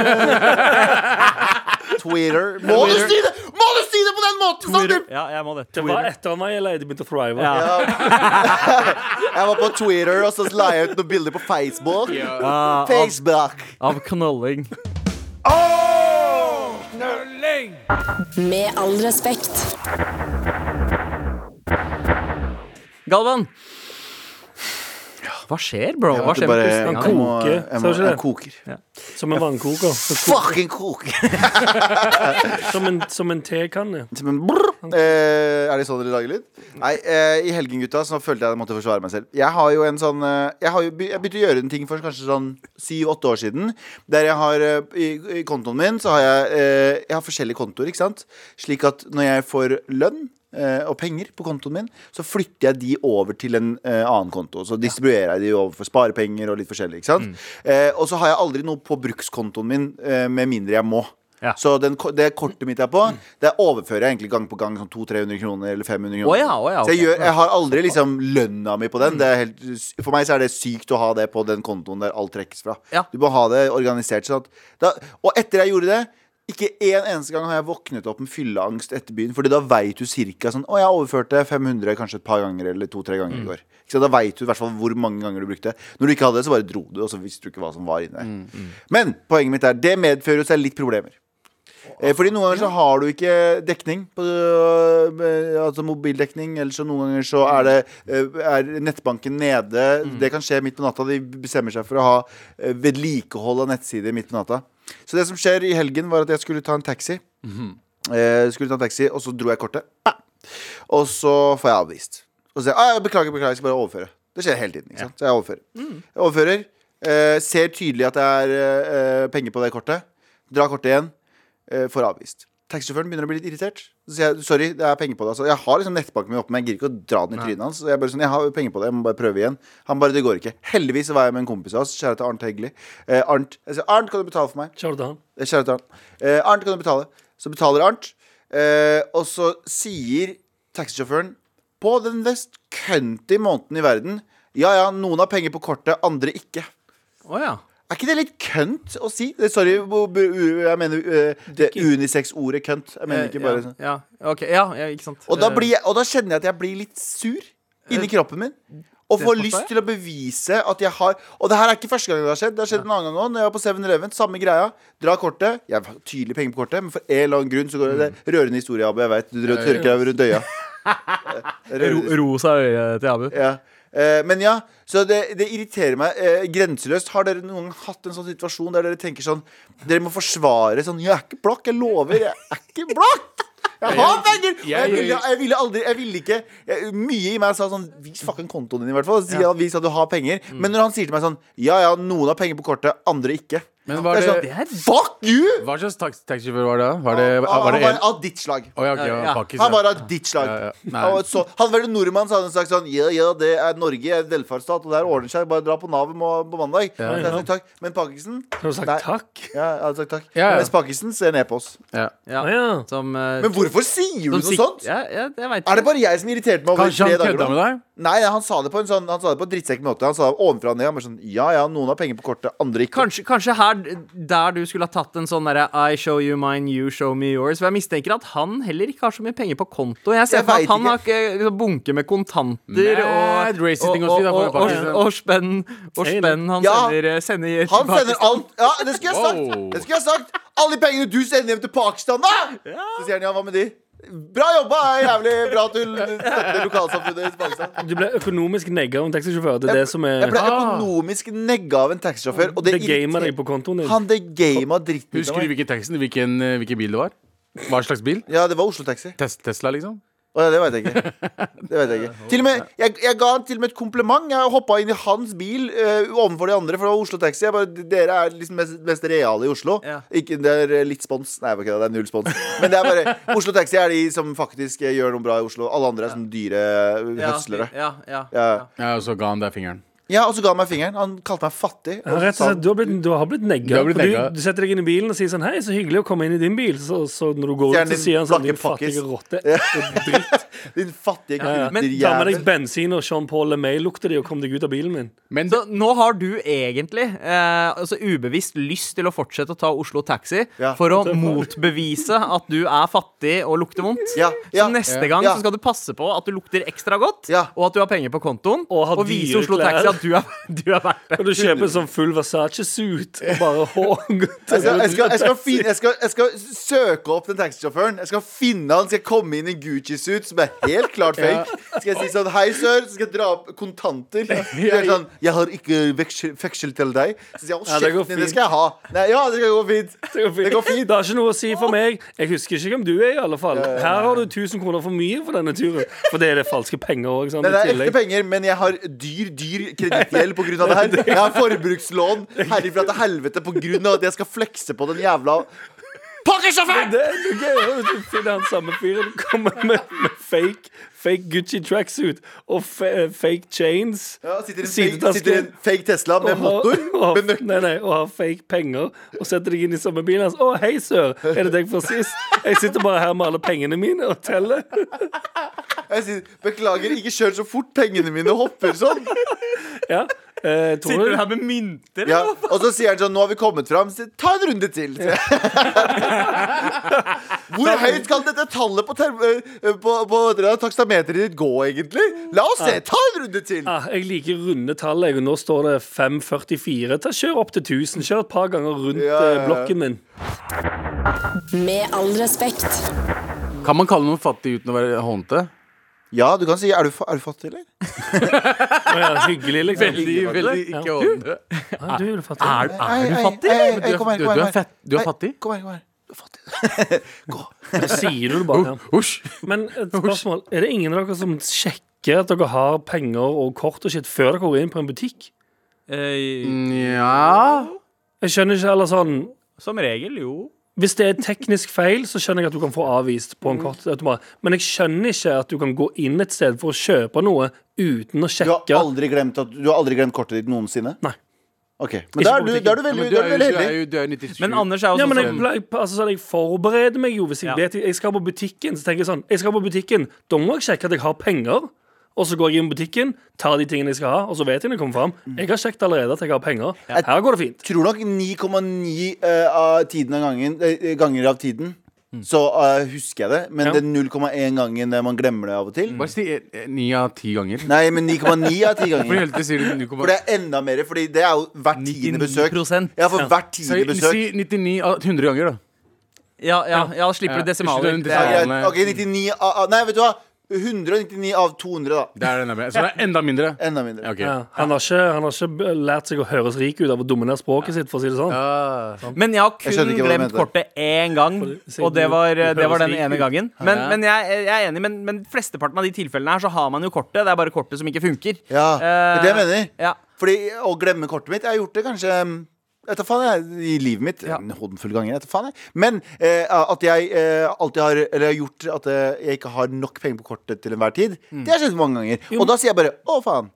Speaker 4: Twitter. Må du si det Må du si det på den måten, Sander!
Speaker 2: Ja, jeg må det.
Speaker 5: Det var etter meg eller de begynte å thrive.
Speaker 2: Ja.
Speaker 4: Jeg var på Twitter, og så la jeg ut noen bilder på Facebook. Ah, Facebook.
Speaker 2: Av knolling.
Speaker 1: Med all respekt.
Speaker 2: Galvan. Hva skjer, bro? Hva skjer med
Speaker 4: jeg,
Speaker 2: pusten?
Speaker 5: koker.
Speaker 4: må, jeg, må,
Speaker 5: Sa du ikke
Speaker 4: jeg
Speaker 5: det?
Speaker 4: koker.
Speaker 5: Som en vannkoker.
Speaker 4: Fucking koker!
Speaker 5: Som en, som en tekanne.
Speaker 4: Som en brrr. Eh, er det sånn dere lager lyd? Nei, eh, i helgen, gutta, så følte jeg at jeg måtte forsvare meg selv. Jeg har jo en sånn eh, Jeg, har jo be jeg begynte å gjøre en ting for kanskje sånn syv-åtte år siden. Der jeg har eh, i, I kontoen min så har jeg eh, Jeg har forskjellige kontoer, ikke sant? Slik at når jeg får lønn eh, og penger på kontoen min, så flytter jeg de over til en eh, annen konto. Så distribuerer jeg de over for sparepenger og litt forskjellig. Ikke sant? Eh, og så har jeg aldri noe på brukskontoen min eh, med mindre jeg må.
Speaker 2: Ja.
Speaker 4: Så den, ko- det kortet mitt jeg er på, det overfører jeg egentlig gang på gang. Sånn 200-300 kroner eller 500 kroner.
Speaker 2: Å ja, å ja,
Speaker 4: Så
Speaker 2: ok.
Speaker 4: jeg, gjør, jeg har aldri liksom lønna mi på den. Det er helt, sy- for meg så er det sykt å ha det på den kontoen der alt trekkes fra.
Speaker 2: Ja.
Speaker 4: Du må ha det organisert. Sånn at, da, og etter jeg gjorde det ikke en eneste gang har jeg våknet opp med fylleangst etter byen. Fordi da veit du cirka sånn Å, jeg overførte 500 kanskje et par ganger eller to-tre
Speaker 2: Mm.
Speaker 4: ganger i går. Ikke sant? da veit du i hvert fall hvor mange ganger du brukte. Når du ikke hadde det, så bare dro du, og så visste du ikke hva som var inni der.
Speaker 2: Mm,
Speaker 4: Men poenget mitt er det medfører jo seg litt problemer. Eh, Fordi noen ganger så har du ikke dekning på, øh, Altså mobildekning Eller så noen ganger så er det øh, Er nettbanken nede Det kan skje midt på natta De bestemmer seg for å ha øh, vedlikehold av nettsider midt på natta Så det som skjer i helgen var at jeg skulle ta en taxi eh, Skulle ta en taxi Og så dro jeg kortet Bam! Og så får jeg avvist Og så sier jeg, «Ah, beklager, beklager, jeg skal bare overføre Det skjer hele tiden, ikke sant? Så jeg overfører Jeg overfører eh, Ser tydelig at det er eh, penger på det kortet Drar kortet igjen eh, får avvist. Taxisjåføren begynner å bli litt irritert. Så sier jeg sorry, det er penger på det. Altså, jeg har liksom nettbanken min oppe, men jeg gidder ikke å dra den i trynet hans. Så jeg bare sånn, jeg har penger på det, jeg må bare prøve igjen. Han bare, det går ikke. Heldigvis så var jeg med en kompis av oss, kjære til Arnt Heggeli. Eh, Arnt, jeg sier, Arnt, kan du betale for meg?
Speaker 5: Kjør til han.
Speaker 4: Eh, Kjære til Arnt. Eh, Arnt, kan du betale? Så betaler Arnt. Eh, og så sier taxisjåføren på den mest kønty måneden i verden Ja ja, noen har penger på kortet, andre ikke.
Speaker 2: Å ja.
Speaker 4: Er ikke det litt kønt å si? Det- Sorry, bu- bu- jeg mener eh, det unisex-ordet kønt. Jeg mener ikke bare sånn.
Speaker 2: Eh, ja, ja, ok, ja, ja, ikke sant.
Speaker 4: Og da,
Speaker 2: Eh,
Speaker 4: blir jeg, og da kjenner jeg at jeg blir litt sur inni kroppen min. Og får
Speaker 2: forstår
Speaker 4: lyst
Speaker 2: jeg.
Speaker 4: til å bevise at jeg har Og det her er ikke første gang det har skjedd. Det har skjedd en annen gang òg. Når jeg var på 7-Eleven, samme greia. Dra kortet. Jeg har tydelig penger på kortet, men for en eller annen grunn så går det
Speaker 2: Mm.
Speaker 4: det er Rørende historie, Abu. Jeg vet Du rød- tørker deg rundt øya. Eh, rørende
Speaker 2: ro- Rosa øye til Abu.
Speaker 4: ja. Eh, men ja, så det, det irriterer meg eh, grenseløst. Har dere noen gang hatt en sånn situasjon der dere tenker sånn Dere må forsvare sånn Jeg er ikke blakk, jeg lover. Jeg er ikke blakk! Jeg har penger! Og jeg ville, jeg ville aldri Jeg ville ikke jeg, Mye i meg sa sånn Vis fucking kontoen din, i hvert fall. Si at vis at du har penger.
Speaker 3: Mm.
Speaker 4: Men når han sier til meg sånn Ja ja, noen har penger på kortet, andre ikke.
Speaker 3: Men var
Speaker 4: Det er sånn,
Speaker 3: det-
Speaker 4: Fuck you!
Speaker 3: Hva slags tax- taxisjåfør var det? da? Var det,
Speaker 4: han
Speaker 3: var det
Speaker 4: var
Speaker 3: en?
Speaker 4: av ditt slag.
Speaker 3: Å ja, ok, ja,
Speaker 2: Ja.
Speaker 3: pakkis,
Speaker 4: Han
Speaker 3: ja.
Speaker 4: var av ditt slag.
Speaker 3: Ja, ja. Nei.
Speaker 4: Han var så, hadde vært en nordmann, så hadde han sagt sånn Ja, ja, det er Norge, er en velferdsstat, og der ordner seg. Bare dra på Navet må- på mandag. Så jeg
Speaker 5: ja.
Speaker 4: sa takk. Men Pakistan
Speaker 5: Har du sagt
Speaker 4: Nei.
Speaker 5: takk?
Speaker 4: Ja, jeg hadde sagt takk.
Speaker 3: Ja, ja.
Speaker 4: Mens Pakistan ser ned på oss.
Speaker 3: Ja.
Speaker 2: Ja.
Speaker 5: Å Ah, ja.
Speaker 2: Som, eh,
Speaker 4: Men hvorfor sier du
Speaker 2: som
Speaker 4: noe
Speaker 2: sik-
Speaker 4: sånt?
Speaker 2: Ja, ja, jeg vet
Speaker 4: Er det bare jeg som irriterte meg over
Speaker 3: Kanskje
Speaker 4: tre
Speaker 3: han
Speaker 4: dager?
Speaker 3: kødda med
Speaker 4: nå?
Speaker 3: deg?
Speaker 4: Nei, han sa det på en sånn Han sa det på en drittsekk måte. Han sa det ovenfra og ned. Han bare sånn Ja ja, noen har penger på kortet, andre ikke.
Speaker 2: Kanskje, kanskje her, der du skulle ha tatt en sånn derre I show you mine, you show me yours. For jeg mistenker at han heller ikke har så mye penger på konto. Jeg ser
Speaker 4: Jeg
Speaker 2: for meg at
Speaker 4: vet
Speaker 2: han
Speaker 4: ikke.
Speaker 2: har ikke bunke med kontanter
Speaker 3: Mad
Speaker 2: og
Speaker 3: racist ting
Speaker 2: og,
Speaker 3: å
Speaker 2: og,
Speaker 3: si, da, for
Speaker 2: og, og,
Speaker 3: Pakistan.
Speaker 2: og spenn og spenn han
Speaker 4: Ja.
Speaker 2: sender, eh, sender
Speaker 4: Han sender alt Ja, det skulle jeg sagt!
Speaker 3: Wow.
Speaker 4: Det skulle jeg sagt Alle de pengene du sender hjem til Pakistan, da! Så sier han ja, hva med de? Bra jobba! Jævlig bra at du støtter lokalsamfunnet i Pakistan.
Speaker 5: Du ble økonomisk negga om taxisjåfør. Det er det som
Speaker 4: Jeg
Speaker 5: er
Speaker 4: ble
Speaker 3: Ah.
Speaker 4: økonomisk negga av en taxisjåfør. Og det
Speaker 5: Det gamer
Speaker 4: irriterer-
Speaker 5: deg på kontoen din.
Speaker 4: Han det gama dritten ut av
Speaker 3: Husker du
Speaker 4: meg.
Speaker 3: hvilken taxi, hvilken, eh, hvilken bil det var? Hva slags bil?
Speaker 4: Ja, det var Oslo Taxi.
Speaker 3: Tes Tesla, liksom?
Speaker 4: Å, det vet jeg ikke. Det vet jeg ikke. Til og med, jeg, jeg ga han til og med et kompliment. Jeg hoppa inn i hans bil eh, overfor de andre, for det var Oslo Taxi. Jeg bare, dere er liksom mest, mest reale i Oslo.
Speaker 2: Ja.
Speaker 4: Ikke, det er eh, litt spons. Nei, ok, det er null spons. Men det er bare Oslo Taxi er de som faktisk eh, gjør noe bra i Oslo. Alle andre er som dyre eh, høslere.
Speaker 2: Ja, ja, ja.
Speaker 4: Ja.
Speaker 3: Ja, og så ga han deg fingeren.
Speaker 4: ja, og så ga han meg fingeren. Han kalte meg fattig.
Speaker 5: Ja,
Speaker 4: og
Speaker 5: Rett og
Speaker 4: sa-
Speaker 5: slett, du har blitt, du har blitt negga.
Speaker 3: Du har blitt
Speaker 5: For
Speaker 3: negga.
Speaker 5: Du, du setter deg inn i bilen og sier sånn Hei, så hyggelig å komme inn i din bil. Så, så når du går
Speaker 4: Fjern
Speaker 5: ut, så
Speaker 4: din
Speaker 5: sier han sånn
Speaker 4: blakke
Speaker 5: Din
Speaker 4: pakkis."
Speaker 5: fattige rotte.
Speaker 4: Din fattige
Speaker 2: Men
Speaker 5: Ta med
Speaker 4: kulterjævel.
Speaker 5: deg bensin og Jean-Paul LeMay lukter de, og kom deg ut av bilen min.
Speaker 3: Men
Speaker 2: Så nå har du egentlig eh, altså ubevisst lyst til å fortsette å ta Oslo Taxi
Speaker 4: Ja.
Speaker 2: for å motbevise at du er fattig og lukter vondt.
Speaker 4: Ja, ja,
Speaker 2: så neste gang
Speaker 4: ja.
Speaker 2: så skal du passe på at du lukter ekstra godt,
Speaker 4: Ja.
Speaker 2: og at du har penger på kontoen,
Speaker 5: Og har
Speaker 2: vise
Speaker 5: dyre
Speaker 2: Oslo
Speaker 5: klær.
Speaker 2: Taxi at du er, du er verdt det.
Speaker 5: Og du kjøper sånn full Versace-suit og bare hår.
Speaker 4: Jeg skal, Altså, jeg, skal, jeg, skal finne, jeg, skal, jeg skal søke opp den taxisjåføren. Jeg skal finne han, skal jeg komme inn i en Gucci-suit som er helt klart fake. Skal jeg si sånn Hei, sør. Så skal jeg dra opp kontanter. Så er det sånn, jeg har ikke veksel, veksel til deg. Så sier jeg å,
Speaker 5: Ja, det går
Speaker 4: kjeften din, det
Speaker 5: fint.
Speaker 4: skal jeg ha. Nei, ja, det skal gå fint.
Speaker 5: Det
Speaker 4: går fint.
Speaker 5: Det har ikke noe å si for meg. Jeg husker ikke hvem du er, i alle fall. Her har du 1000 kroner for mye for denne turen. For det er det falske penger sånn, òg.
Speaker 4: Nei, det er ekte penger, men jeg har dyr dyr kredittgjeld pga. det her. Jeg har forbrukslån herifra til helvete pga. at jeg skal flekse på den jævla
Speaker 5: Det er noe gøyere hvis du finner han samme fyren og kommer med, med fake, fake Gucci tracksuit og fe, fake chains.
Speaker 4: ja, sitter, i en fake,
Speaker 5: Sidetaske.
Speaker 4: sitter i en fake Tesla med motor.
Speaker 5: og har,
Speaker 4: Med nøkkel.
Speaker 5: nei, nei, og har fake penger og setter deg inn i samme bilen hans. 'Å, hei, sør, er det deg fra sist?' Jeg sitter bare her med alle pengene mine og teller.
Speaker 4: Jeg sier, Beklager, ikke kjør så fort. Pengene mine hopper sånn.
Speaker 5: Ja, eh, tror
Speaker 2: Sitter du
Speaker 5: du
Speaker 2: her med mynter?
Speaker 4: Ja. Og så sier han sånn Nå har vi kommet fram. Så, Ta en runde til. sier jeg. Hvor høyt kan dette tallet på, term eh, på, på hva heter det, taksameteret ditt gå, egentlig? La oss se. Ta en runde til.
Speaker 5: ja, Jeg liker runde tall. jeg, og Nå står det 544. Ta Kjør opp til 1000. Kjør et par ganger rundt
Speaker 4: Ja, ja, ja.
Speaker 5: eh, blokken min.
Speaker 1: Med all respekt.
Speaker 3: Kan man kalle noen fattig uten å være hånete?
Speaker 4: Ja, du kan si Er du, fa- er du fattig, eller?
Speaker 5: Å ja, hyggelig, liksom.
Speaker 3: Veldig, veldig
Speaker 5: Ja.
Speaker 3: ikke hånete.
Speaker 5: Ja, du, er du fattig.
Speaker 3: Er, er du
Speaker 4: ei,
Speaker 3: fattig?
Speaker 4: ei,
Speaker 3: eller?
Speaker 4: ei,
Speaker 3: Du
Speaker 4: kom her,
Speaker 3: er- du- Du
Speaker 4: kom her, kom
Speaker 3: er
Speaker 4: her.
Speaker 3: fett- du
Speaker 4: Nei,
Speaker 3: er fattig?
Speaker 4: Kom her, kom her. Du er fattig.
Speaker 5: Da sier du det
Speaker 3: Oh.
Speaker 5: bare. Ja.
Speaker 3: Husj.
Speaker 5: Men
Speaker 3: Oh,
Speaker 5: et spørsmål. Er det ingen av dere som sjekker at dere har penger og kort og shit før dere går inn på en butikk?
Speaker 2: Eh,
Speaker 3: Nja
Speaker 5: Jeg skjønner ikke eller sånn
Speaker 2: som regel, jo.
Speaker 5: Hvis det er teknisk feil, så skjønner jeg at du kan få avvist på en kortautomat. Men jeg skjønner ikke at du kan gå inn et sted for å kjøpe noe uten
Speaker 4: Du
Speaker 5: å
Speaker 4: har
Speaker 5: sjekke.
Speaker 4: aldri glemt, at, du har aldri glemt kortet ditt noensinne?
Speaker 5: Nei.
Speaker 4: Ok, Men da er du, da er du
Speaker 3: Ja,
Speaker 4: veldig,
Speaker 3: men Du
Speaker 4: da
Speaker 3: er jo
Speaker 4: er du veldig
Speaker 3: du er
Speaker 4: heldig.
Speaker 3: jo- du er jo 97.
Speaker 2: Men Anders er jo
Speaker 5: Ja, men
Speaker 2: sånn
Speaker 5: jeg,
Speaker 2: som
Speaker 5: ble- altså, sånn, jeg forbereder meg jo hvis jeg
Speaker 2: Ja.
Speaker 5: vet jeg skal på butikken. Så tenker jeg sånn, jeg skal på butikken, da må jeg sjekke at jeg har penger. Og så går jeg inn i butikken, tar de tingene jeg skal ha, og så vet jeg når jeg kommer fram. Jeg har sjekket allerede at jeg har penger. Her går det fint.
Speaker 4: Tror nok 9,9 eh, av tiden av gangen, eh, ganger av tiden
Speaker 3: Mm.
Speaker 4: så eh, husker jeg det. Men
Speaker 5: Ja.
Speaker 4: den 0,1 gangen eh, man glemmer det av og til
Speaker 3: Bare si eh, ni av ti ganger.
Speaker 4: Nei, men 9,9 av ti
Speaker 3: Hvorfor i
Speaker 4: ganger.
Speaker 3: helvete sier du du
Speaker 4: For
Speaker 3: kommer
Speaker 4: det er enda mer, Fordi det er jo hvert tiende besøk.
Speaker 2: 99%.
Speaker 4: Ja, for hvert tiende
Speaker 3: Si
Speaker 4: besøk.
Speaker 3: si 99 av 100 ganger, da.
Speaker 2: Ja, ja, ja, slipper
Speaker 3: Ja,
Speaker 2: du desimaler.
Speaker 3: ikke
Speaker 2: Det er-
Speaker 3: den
Speaker 4: Ja, greit. Ok, 99 av av- Nei, vet du hva? 199 av 200, da.
Speaker 3: Det er den der med. Så det er enda mindre.
Speaker 4: Enda mindre.
Speaker 3: Ja, ok.
Speaker 5: Ja, han, har ikke, han har ikke b- lært seg å høres rik ut av å dominere språket sitt, for å si det sånn.
Speaker 3: Ah.
Speaker 2: Men jeg har
Speaker 4: Jeg
Speaker 2: kun
Speaker 4: skjønner ikke hva du
Speaker 2: glemt
Speaker 4: mente.
Speaker 2: kortet én gang,
Speaker 5: siden
Speaker 2: og det
Speaker 5: du-
Speaker 2: var, eh,
Speaker 5: du
Speaker 2: det var
Speaker 5: høres
Speaker 2: den
Speaker 5: rik
Speaker 2: ene
Speaker 5: ut.
Speaker 2: gangen. Men,
Speaker 3: Ja.
Speaker 2: men jeg, jeg er enig, men, men flesteparten av de tilfellene her så har man jo kortet. Det er bare kortet som ikke funker. Eh,
Speaker 4: Ja, det er det jeg
Speaker 3: Eh,
Speaker 4: mener.
Speaker 2: Ja.
Speaker 4: Fordi å glemme kortet mitt Jeg har gjort det kanskje mm, vet du faen jeg, I livet mitt En håndfull ganger vet du faen jeg. Men eh, at jeg eh, alltid har Eller har gjort at eh, jeg ikke har nok penger på kortet Til enhver tid
Speaker 5: Mm.
Speaker 4: Det har skjedd mange ganger Og da sier jeg bare Å faen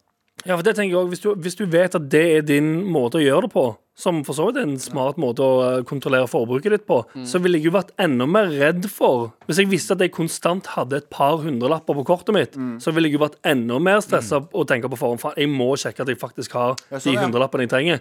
Speaker 5: Ja, for det tenker jeg også, hvis, du, hvis du vet at det er din måte å gjøre det på, som for så vidt er en smart måte å eh, kontrollere forbruket ditt på,
Speaker 4: Mm.
Speaker 5: så ville jeg jo vært enda mer redd for Hvis jeg visste at jeg konstant hadde et par hundrelapper på kortet mitt,
Speaker 4: Mm.
Speaker 5: så ville jeg jo vært enda mer stressa og tenke på forhånd Faen, jeg må sjekke at jeg faktisk har
Speaker 4: sånn, Mm.
Speaker 5: de
Speaker 4: ja.
Speaker 5: hundrelappene jeg trenger.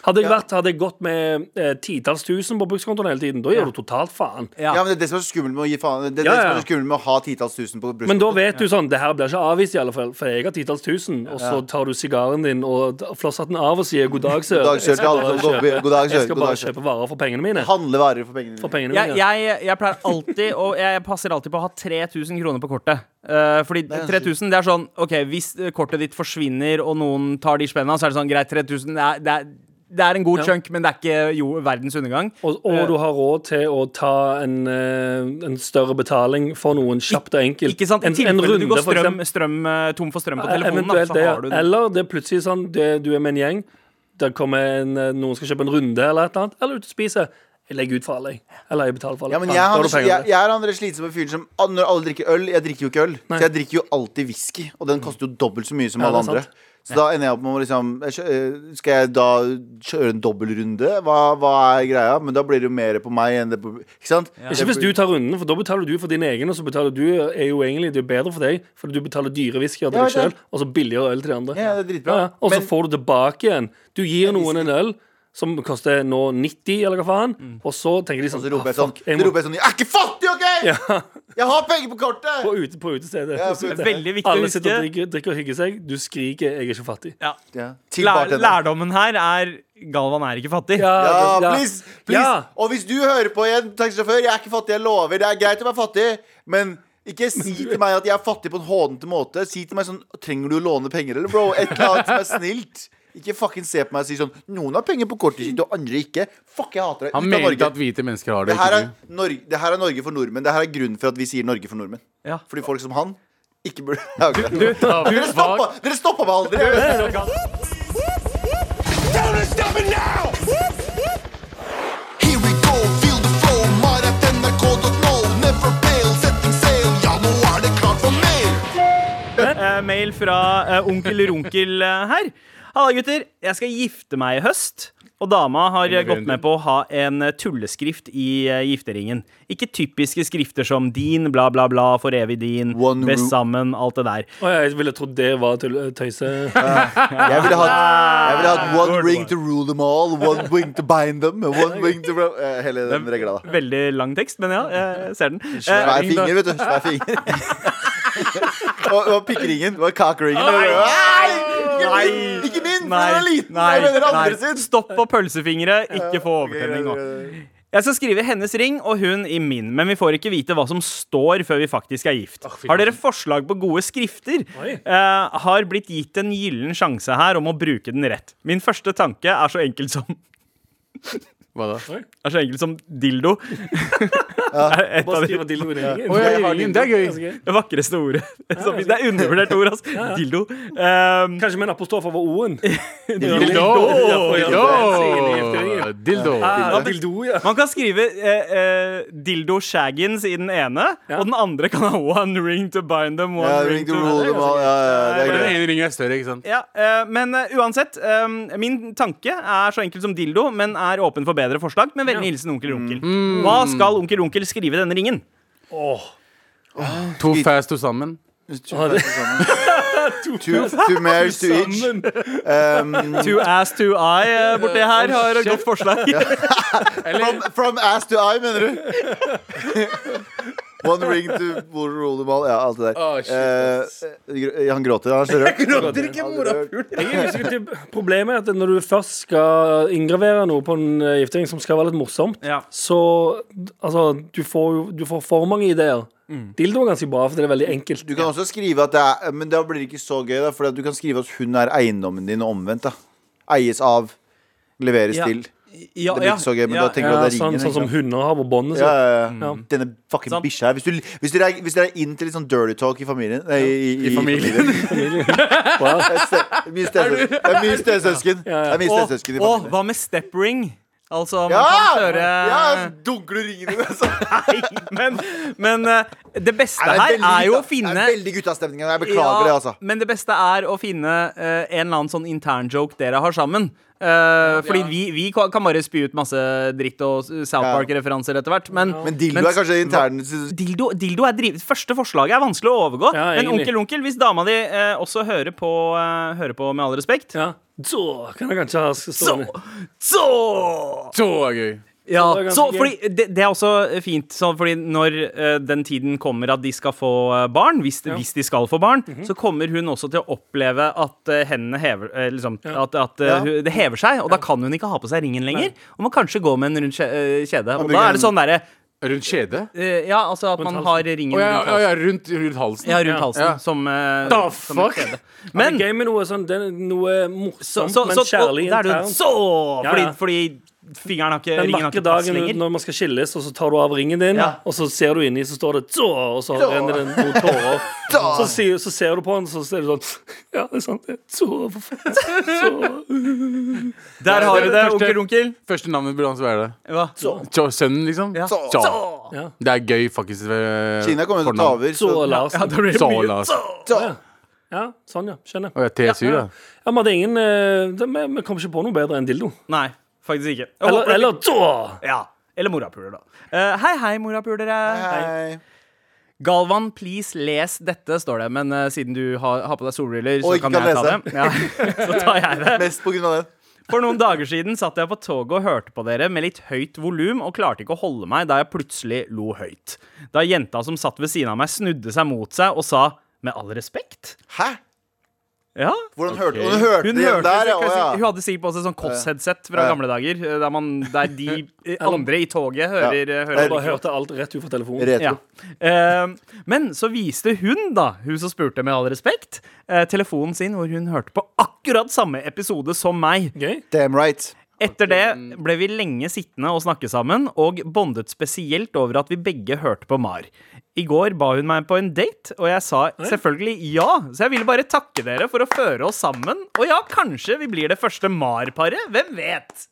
Speaker 5: Hadde jeg,
Speaker 4: Ja.
Speaker 5: vært, hadde jeg gått med eh, titalls tusen på brukskontoen hele tiden, da gjør du totalt faen.
Speaker 4: ja.
Speaker 2: Ja.
Speaker 4: men det er det som er så skummelt med å gi faen Det er
Speaker 5: Ja,
Speaker 4: det som
Speaker 5: ja.
Speaker 4: er så skummelt med å ha titalls tusen på brystet
Speaker 5: Men da vet du sånn Det her blir ikke avvist, i alle fall, for jeg har titalls tusen. Og så tar du sigaren din og t- flosshatten av og sier 'god dag, sør'.
Speaker 4: God dag, sør,
Speaker 5: Jeg skal
Speaker 4: til alle
Speaker 5: bare
Speaker 4: som går forbi.
Speaker 5: kjøpe-
Speaker 4: God dag, sør,
Speaker 5: Jeg skal
Speaker 4: god
Speaker 5: bare
Speaker 4: dag, sør.
Speaker 5: kjøpe varer for pengene mine.
Speaker 4: Handle varer for pengene
Speaker 5: For
Speaker 4: dine
Speaker 5: pengene
Speaker 2: Jeg,
Speaker 5: mine.
Speaker 2: jeg, jeg pleier alltid å, Jeg passer alltid på å ha 3000 kroner på kortet. Eh, fordi
Speaker 4: er
Speaker 2: 3000
Speaker 4: ganske
Speaker 2: det er sånn OK, hvis eh, kortet ditt forsvinner, og noen tar de spenna, så er det sånn greit, 3000 det er, det er, det er en god
Speaker 5: Ja.
Speaker 2: chunk, men det er ikke jo, verdens undergang.
Speaker 5: Og, og du har råd til å ta en, eh, en større betaling for noen kjapt og enkelt.
Speaker 2: Ikke sant? I
Speaker 5: En, en
Speaker 2: tilfelle
Speaker 5: runde,
Speaker 2: du går
Speaker 5: for
Speaker 2: strøm,
Speaker 5: eksempel.
Speaker 2: strøm, eh, tom for strøm på telefonen, da,
Speaker 5: Eventuelt
Speaker 2: så
Speaker 5: det.
Speaker 2: har du
Speaker 5: ja.
Speaker 2: den.
Speaker 5: Eller det er plutselig sånn det, du er med en gjeng, der kommer en, eh, noen skal kjøpe en runde eller et eller annet, eller ut og spise. Jeg legger ut for alle, jeg. Eller jeg betaler for alle.
Speaker 4: Ja, men
Speaker 5: Faen,
Speaker 4: jeg,
Speaker 5: da har
Speaker 4: er
Speaker 5: du
Speaker 4: han-
Speaker 5: pengene.
Speaker 4: jeg, jeg er han der slitsomme fyren som ah, Når alle drikker øl Jeg drikker jo ikke øl. Så jeg drikker jo alltid whisky, og den koster jo dobbelt så mye som
Speaker 5: Mm. Ja,
Speaker 4: alle
Speaker 5: det er
Speaker 4: andre.
Speaker 5: sant.
Speaker 4: Så da ender jeg opp med å liksom jeg kjø- eh, Skal jeg da kjøre en dobbeltrunde? Hva, hva er greia? Men da blir det jo mer på meg enn det på Ikke sant?
Speaker 5: Ikke hvis du tar runden, for da betaler du for din egen, og så betaler du er jo egentlig det er bedre for deg, for du betaler dyre whiskyer til
Speaker 4: Ja,
Speaker 5: deg
Speaker 4: det er-
Speaker 5: sjøl, og så billigere øl til de andre.
Speaker 4: Ja, det er dritbra.
Speaker 5: Ja, og så
Speaker 4: Men-
Speaker 5: får du tilbake igjen. Du gir noen en øl som koster nå 90, eller hva faen,
Speaker 4: Mm.
Speaker 5: og så tenker de
Speaker 4: Og
Speaker 5: sånn
Speaker 4: så roper jeg
Speaker 5: «Ah,
Speaker 4: sånn
Speaker 5: fuck,
Speaker 4: Så
Speaker 5: jeg må
Speaker 4: roper jeg sånn Jeg er ikke fattig, OK?! Jeg har penger på kortet!
Speaker 5: på, ute, på utestedet.
Speaker 4: Ja, på
Speaker 2: Det er veldig viktig å
Speaker 5: Alle
Speaker 2: huske.
Speaker 5: sitter og drikker, drikker og hygger seg. Du skriker 'jeg er ikke fattig'.
Speaker 2: Ja.
Speaker 4: Ja. Til
Speaker 2: Lær,
Speaker 4: bartenderen.
Speaker 2: lærdommen her er Galvan er ikke fattig.
Speaker 4: Ja,
Speaker 5: det- ja.
Speaker 4: please, please.
Speaker 5: Ja.
Speaker 4: Og hvis du hører på igjen, taxisjåfør, jeg er ikke fattig, jeg lover. Det er greit å være fattig, men ikke si til meg at jeg er fattig på en hånete måte. Si til meg sånn Trenger du å låne penger, eller, bro? Et eller annet som er snilt. Ikke fucking se på meg og si sånn Noen har penger på kortet sitt, og andre ikke. Fuck, jeg hater deg.
Speaker 3: Han
Speaker 4: Ut av
Speaker 3: mente
Speaker 4: Norge.
Speaker 3: at hvite mennesker har det.
Speaker 4: Det her,
Speaker 3: Ikke
Speaker 4: er
Speaker 3: du.
Speaker 4: Norge, det her er Norge for nordmenn. Det her er grunnen for at vi sier Norge for nordmenn.
Speaker 2: Ja.
Speaker 4: Fordi folk som han ikke burde Ja, ok. Dere stoppa, dere stoppa meg aldri!
Speaker 6: Here we go, feel the flow. Mar.nrk.no, never fail. Setting sail, ja, nå er det klart for mer.
Speaker 2: Eh, mail fra eh, onkel Runkel eh, her. Halla, gutter. Jeg skal gifte meg i høst. Og dama har eh, gått med på å ha en eh, tulleskrift i eh, gifteringen. Ikke typiske skrifter som din, bla, bla, bla, for evig din,
Speaker 4: One
Speaker 2: best
Speaker 4: ru-
Speaker 2: sammen, alt det der.
Speaker 5: Å, jeg ville trodd det var tull- eh, tøyse.
Speaker 4: Jeg ville hatt, jeg ville hatt one
Speaker 2: Good
Speaker 4: ring
Speaker 2: one.
Speaker 4: to rule them all, one wing to bind them, and one wing to ro- eh, Hele den regla, da.
Speaker 2: Veldig lang tekst, men ja, jeg, jeg ser den. Eh,
Speaker 4: Svær finger, vet du. Svær finger. og, og pikkeringen. Og kakeringen.
Speaker 2: Nei!
Speaker 4: Ikke min! for Den er liten! jeg mener andre sin.
Speaker 2: Stopp på pølsefingre. Ikke få overtenning nå. Jeg skal skrive hennes ring og hun i min, men vi får ikke vite hva som står før vi faktisk er gift. Har dere forslag på gode skrifter?
Speaker 5: Oi.
Speaker 2: Eh, har blitt gitt en gyllen sjanse her om å bruke den rett. Min første tanke er så enkel som
Speaker 3: Hva da?
Speaker 2: er så enkel som dildo. Er et av
Speaker 5: Bare
Speaker 2: de
Speaker 5: skriv at dildo ringer.
Speaker 3: Å, ja, ringen, det er gøy.
Speaker 5: Ganske gøy.
Speaker 2: vakreste ordet. Som- Det er undervurdert ord, altså. Dildo. Um,
Speaker 5: Kanskje med en apostrof over o-en.
Speaker 3: Dildo! Dildo.
Speaker 5: Ah, dildo, ja.
Speaker 2: Man kan skrive eh, eh, dildo shaggins i den ene, og den andre kan ha one ring to bind them, one
Speaker 4: Ja,
Speaker 2: ring
Speaker 4: ring to
Speaker 2: to
Speaker 4: rule them all. Ja, ja, det er
Speaker 3: Den
Speaker 4: greit.
Speaker 3: ene ringen er større, ikke sant?
Speaker 2: Ja, eh, Men eh, uansett, eh, min tanke er så enkel som dildo, men er åpen for bedre forslag. Med vennlig hilsen onkel Runkel.
Speaker 4: Mm.
Speaker 2: Hva skal onkel Runkel skrive i denne ringen?
Speaker 5: Åh.
Speaker 3: To fast to sammen.
Speaker 4: Two, two mares to each. Um,
Speaker 2: To ass to eye eh, borti her har et godt forslag.
Speaker 4: from, from ass to eye, mener du? One ring to rule them all. Ja, alt det der.
Speaker 3: Å, shit,
Speaker 4: Eh,
Speaker 3: ass.
Speaker 4: eh, han gråter, han er så rørt.
Speaker 5: Jeg er usikker til- Problemet er at når du først skal inngravere noe på en eh, giftering som skal være litt morsomt,
Speaker 2: Ja.
Speaker 5: så altså, du får jo du får for mange ideer.
Speaker 2: Mm.
Speaker 5: Dildo er ganske bra, for det er veldig enkelt.
Speaker 4: Du kan også skrive at det er Men da blir det ikke så gøy, da. For du kan skrive at hun er eiendommen din, og omvendt. da Eies av, leveres
Speaker 2: Ja.
Speaker 4: til.
Speaker 2: Ja,
Speaker 4: Det blir ikke så gøy, men da tenker
Speaker 5: ja,
Speaker 4: du at det er
Speaker 5: sånn,
Speaker 4: ringen.
Speaker 5: sånn som hunder har på
Speaker 4: ja,
Speaker 5: båndet. sitt.
Speaker 4: ja, ja.
Speaker 5: Ja.
Speaker 4: Denne fucking
Speaker 2: Sant.
Speaker 4: bikkja her. Hvis, du, hvis, dere er, hvis dere er inn til litt sånn dirty talk i familien Nei, i, i, i familien. Det er ste- mye stesøs- det er mye stesøsken. Det er mye
Speaker 2: Og,
Speaker 4: stesøsken i
Speaker 2: og
Speaker 4: familien.
Speaker 2: hva med step ring? Altså, man
Speaker 4: Ja!
Speaker 2: kan kjøre
Speaker 4: ja så dunker du ringen din, altså.
Speaker 2: Nei, men, men eh, det beste
Speaker 4: Nei,
Speaker 2: her
Speaker 4: det er veldig
Speaker 2: er jo å
Speaker 4: gutta- Det
Speaker 2: finne
Speaker 4: er veldig guttastemning. Jeg beklager det, altså.
Speaker 2: Men det beste er å finne eh, en eller annen sånn intern joke dere har sammen. Eh, Fordi vi, vi ka- kan bare spy ut masse dritt og eh, South
Speaker 4: Ja.
Speaker 2: Park-referanser etter hvert. Men,
Speaker 4: Men dildo er kanskje intern
Speaker 2: Dildo, dildo er driv... Første forslaget er vanskelig å overgå.
Speaker 5: Ja,
Speaker 2: men
Speaker 5: egentlig.
Speaker 2: onkel, onkel, hvis dama di eh, også hører på, eh, hører på med all respekt
Speaker 5: Ja. Så kan jeg kanskje ha stående.
Speaker 2: Så!
Speaker 3: Så er gøy.
Speaker 2: Ja,
Speaker 5: det er ganske
Speaker 2: så,
Speaker 5: gøy.
Speaker 2: fordi, det, det er også fint, sånn, fordi når eh, den tiden kommer at de skal få eh, barn, hvis, hvis de skal få barn,
Speaker 5: Mhm.
Speaker 2: så kommer hun også til å oppleve at eh, hendene hever eh, liksom, At, at eh,
Speaker 4: Ja.
Speaker 2: hun, det hever seg, og da kan hun ikke ha på seg ringen lenger. Og må kanskje gå med en rund kje- eh, kjede. Og da er det sånn derre
Speaker 3: Rundt kjedet?
Speaker 2: Eh, ja, altså at
Speaker 5: Rundt
Speaker 2: man
Speaker 5: halsen.
Speaker 2: har ringen
Speaker 3: Å ja,
Speaker 2: rundt
Speaker 3: ja,
Speaker 2: halsen.
Speaker 3: ja, rundt, rundt halsen.
Speaker 2: Ja, rundt halsen
Speaker 3: Ja.
Speaker 2: som eh,
Speaker 5: Da
Speaker 2: som et
Speaker 5: fuck!
Speaker 2: kjede.
Speaker 5: Men
Speaker 2: Men
Speaker 5: gøy med noe sånn det er Noe
Speaker 2: så,
Speaker 5: morsomt,
Speaker 2: så, så,
Speaker 5: men kjærlig
Speaker 2: og, da er det jo
Speaker 5: internt.
Speaker 2: Så!
Speaker 5: Ja,
Speaker 2: Fordi,
Speaker 5: ja.
Speaker 2: fordi fingeren har ikke
Speaker 5: Den
Speaker 2: Ringen har
Speaker 5: Eh, vakre
Speaker 2: ikke tatt
Speaker 5: dagen
Speaker 2: lenger.
Speaker 5: når man skal skilles, og så tar du av ringen din,
Speaker 2: Ja.
Speaker 5: og så ser du inni, så står det Zå! Og så renner det noen tårer. Så, sier, så ser du på den, så ser du sånn Ja, det er sant. det er Zå, for faen. Zå.
Speaker 2: Der har du det,
Speaker 3: første-
Speaker 2: onkel onkel.
Speaker 3: Første navnet burde hans være det.
Speaker 2: Hva?
Speaker 3: Tja, Sønnen, liksom?
Speaker 2: Ja.
Speaker 4: Så-
Speaker 3: Tja.
Speaker 5: Ja.
Speaker 3: Det er gøy, faktisk. eh,
Speaker 4: Kina kommer til å ta
Speaker 3: fornavn.
Speaker 4: over.
Speaker 5: Zå
Speaker 4: Så,
Speaker 5: Larsen.
Speaker 2: Ja, da blir det
Speaker 3: Så,
Speaker 2: mye.
Speaker 3: Lars.
Speaker 4: så.
Speaker 5: Ja, sånn, ja. Skjønner.
Speaker 3: Å, ja, TSU, ja.
Speaker 5: Ja, men det er ingen eh, det, vi, vi kom ikke på noe bedre enn dildo.
Speaker 2: Nei, faktisk ikke. Jeg håper
Speaker 5: Eller,
Speaker 2: at-
Speaker 5: eller Zå!
Speaker 2: Ja. Eller morapuler, da. Eh, hei, hei, morapulere.
Speaker 4: Hei.
Speaker 2: Galvan, please les dette, står det. Men eh, siden du har, har på deg solbriller, så
Speaker 4: Og ikke
Speaker 2: kan,
Speaker 4: kan
Speaker 2: jeg
Speaker 4: lese.
Speaker 2: ta det. Ja, så tar jeg det.
Speaker 4: Mest på grunn av det.
Speaker 2: For noen dager siden satt jeg på toget og hørte på dere med litt høyt volum, og klarte ikke å holde meg da jeg plutselig lo høyt. Da jenta som satt ved siden av meg, snudde seg mot seg og sa med all respekt.
Speaker 4: Hæ?
Speaker 2: Ja.
Speaker 4: Hvordan hørte hun hørte
Speaker 2: Hun,
Speaker 4: det igjen
Speaker 2: hørte,
Speaker 4: der?
Speaker 2: det,
Speaker 4: Ja,
Speaker 2: kan jeg si.
Speaker 4: å,
Speaker 2: hun
Speaker 4: ja.
Speaker 2: hadde sikkert på seg sånn Koss-headset fra
Speaker 4: Ja.
Speaker 2: gamle dager, eh, der, man, der de eh, andre i toget hører, eh, hører
Speaker 4: Jeg
Speaker 5: Bare hørte alt rett ut fra telefonen.
Speaker 4: Retro.
Speaker 2: Ja. Eh, men så viste hun, da, hun som spurte med all respekt, eh, telefonen sin hvor hun hørte på akkurat samme episode som meg.
Speaker 5: Gøy.
Speaker 4: Damn right.
Speaker 2: Etter det ble vi lenge sittende og snakke sammen, og bondet spesielt over at vi begge hørte på Mar. I går ba hun meg på en date, og jeg sa selvfølgelig ja, så jeg ville bare takke dere for å føre oss sammen. Og ja, kanskje vi blir det første Mar-paret. Hvem vet?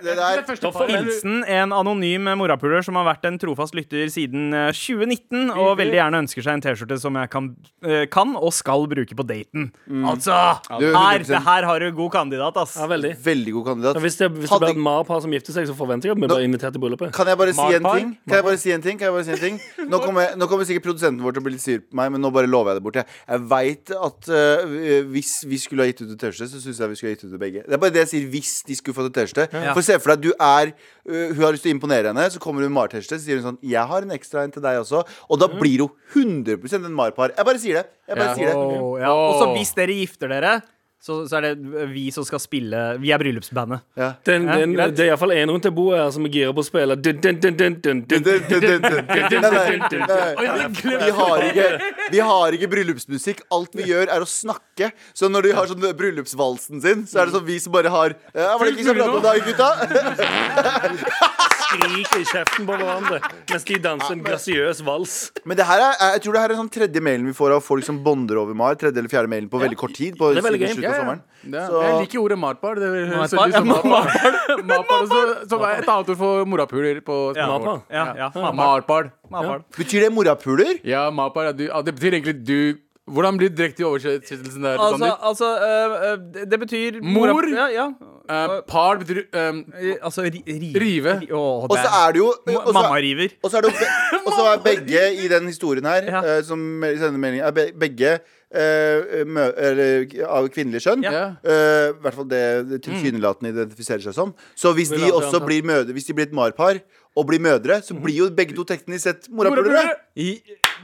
Speaker 4: Det der
Speaker 3: Første
Speaker 2: Hilsen en anonym morapuler som har vært en trofast lytter siden eh, 2019, og veldig gjerne ønsker seg en T-skjorte som jeg kan, eh, kan og skal bruke på daten. Altså!
Speaker 4: Du,
Speaker 2: Her,
Speaker 4: 100%.
Speaker 2: det her har du god kandidat, ass.
Speaker 5: Ja, veldig.
Speaker 4: Veldig god kandidat.
Speaker 5: Ja, hvis det, hvis det
Speaker 4: Hadde-
Speaker 5: blir et mar-par som gifter seg, så forventer jeg at vi blir invitert til bryllupet.
Speaker 4: Kan jeg bare si en
Speaker 2: Marpar?
Speaker 4: ting? Kan jeg bare si en ting? Kan jeg bare si en ting? Nå kommer, nå kommer sikkert produsenten vår til å bli litt sur på meg, men nå bare lover jeg det bort. Jeg, jeg veit at øh, hvis vi skulle ha gitt ut en T-skjorte, så syns jeg vi skulle ha gitt ut det begge. Det er bare det jeg sier hvis de skulle fått en T-skjorte. For se for deg, du er øh, Hun har lyst til å imponere henne, så kommer hun med Mar-T-skjorte, så sier hun sånn Jeg har en ekstra en til deg også. Og da blir hun 100 en Mar-par. Jeg bare sier det. Jeg bare
Speaker 3: Ja.
Speaker 4: sier det.
Speaker 2: Åh, ja. Og så hvis dere gifter dere, så, så er det vi som skal spille Vi er bryllupsbandet.
Speaker 4: Ja.
Speaker 5: Den, den,
Speaker 2: greit.
Speaker 5: det er iallfall én rundt til bordet her som er gira på å spille. Dun, dun, dun, dun, dun, dun.
Speaker 4: Nei, nei, nei. Vi har, ikke, vi har ikke bryllupsmusikk. Alt vi gjør, er å snakke. Så når de har sånn bryllupsvalsen sin, så er det sånn vi som bare har ja, Var det ikke så bra på dag, gutta?
Speaker 5: Skriker i kjeften på hverandre mens de danser en grasiøs vals.
Speaker 4: Men det her er, jeg tror det her er sånn tredje mailen vi får av folk som bonder over Mar. Tredje eller fjerde mailen på veldig kort tid. På
Speaker 5: Det er veldig
Speaker 4: siden
Speaker 5: gøy.
Speaker 4: slutten av sommeren.
Speaker 3: Ja,
Speaker 4: Så-
Speaker 3: Jeg liker ordet matbar. Det høres
Speaker 2: Matbar,
Speaker 3: ut som
Speaker 2: ja,
Speaker 3: matbar. matbar også, som er et annet ord for morapuler på språket
Speaker 5: Matbar.
Speaker 3: vårt.
Speaker 2: Ja, ja, Mapar.
Speaker 3: Matbar.
Speaker 2: Mapar.
Speaker 4: Betyr det morapuler?
Speaker 3: Ja, matbar. Ja, du, ja, det betyr egentlig du Hvordan blir direkte i oversettelsen der?
Speaker 2: Altså,
Speaker 3: Sander?
Speaker 2: altså øh, øh, det- Det betyr
Speaker 3: Mor?
Speaker 2: morap- Ja, ja. øh,
Speaker 3: Eh, par betyr um,
Speaker 2: Eh, Altså ri, ri,
Speaker 3: Rive.
Speaker 2: ri- Åh,
Speaker 4: Og
Speaker 2: det
Speaker 4: så
Speaker 2: er
Speaker 4: er det jo og så-
Speaker 2: Mamma river.
Speaker 4: Og så er det jo be- og så er begge i den historien her
Speaker 2: Ja.
Speaker 4: eh, Som sender meldingen Er be- begge eh, mø eller, av kvinnelig kjønn
Speaker 2: Ja.
Speaker 4: eh, I hvert fall det det tilsynelatende identifiserer seg som Så hvis
Speaker 5: Vil
Speaker 4: de
Speaker 5: aldri
Speaker 4: også
Speaker 5: anta.
Speaker 4: blir mødre Hvis de blir et marpar og blir mødre Så blir jo begge to teknisk sett morapulere
Speaker 2: I-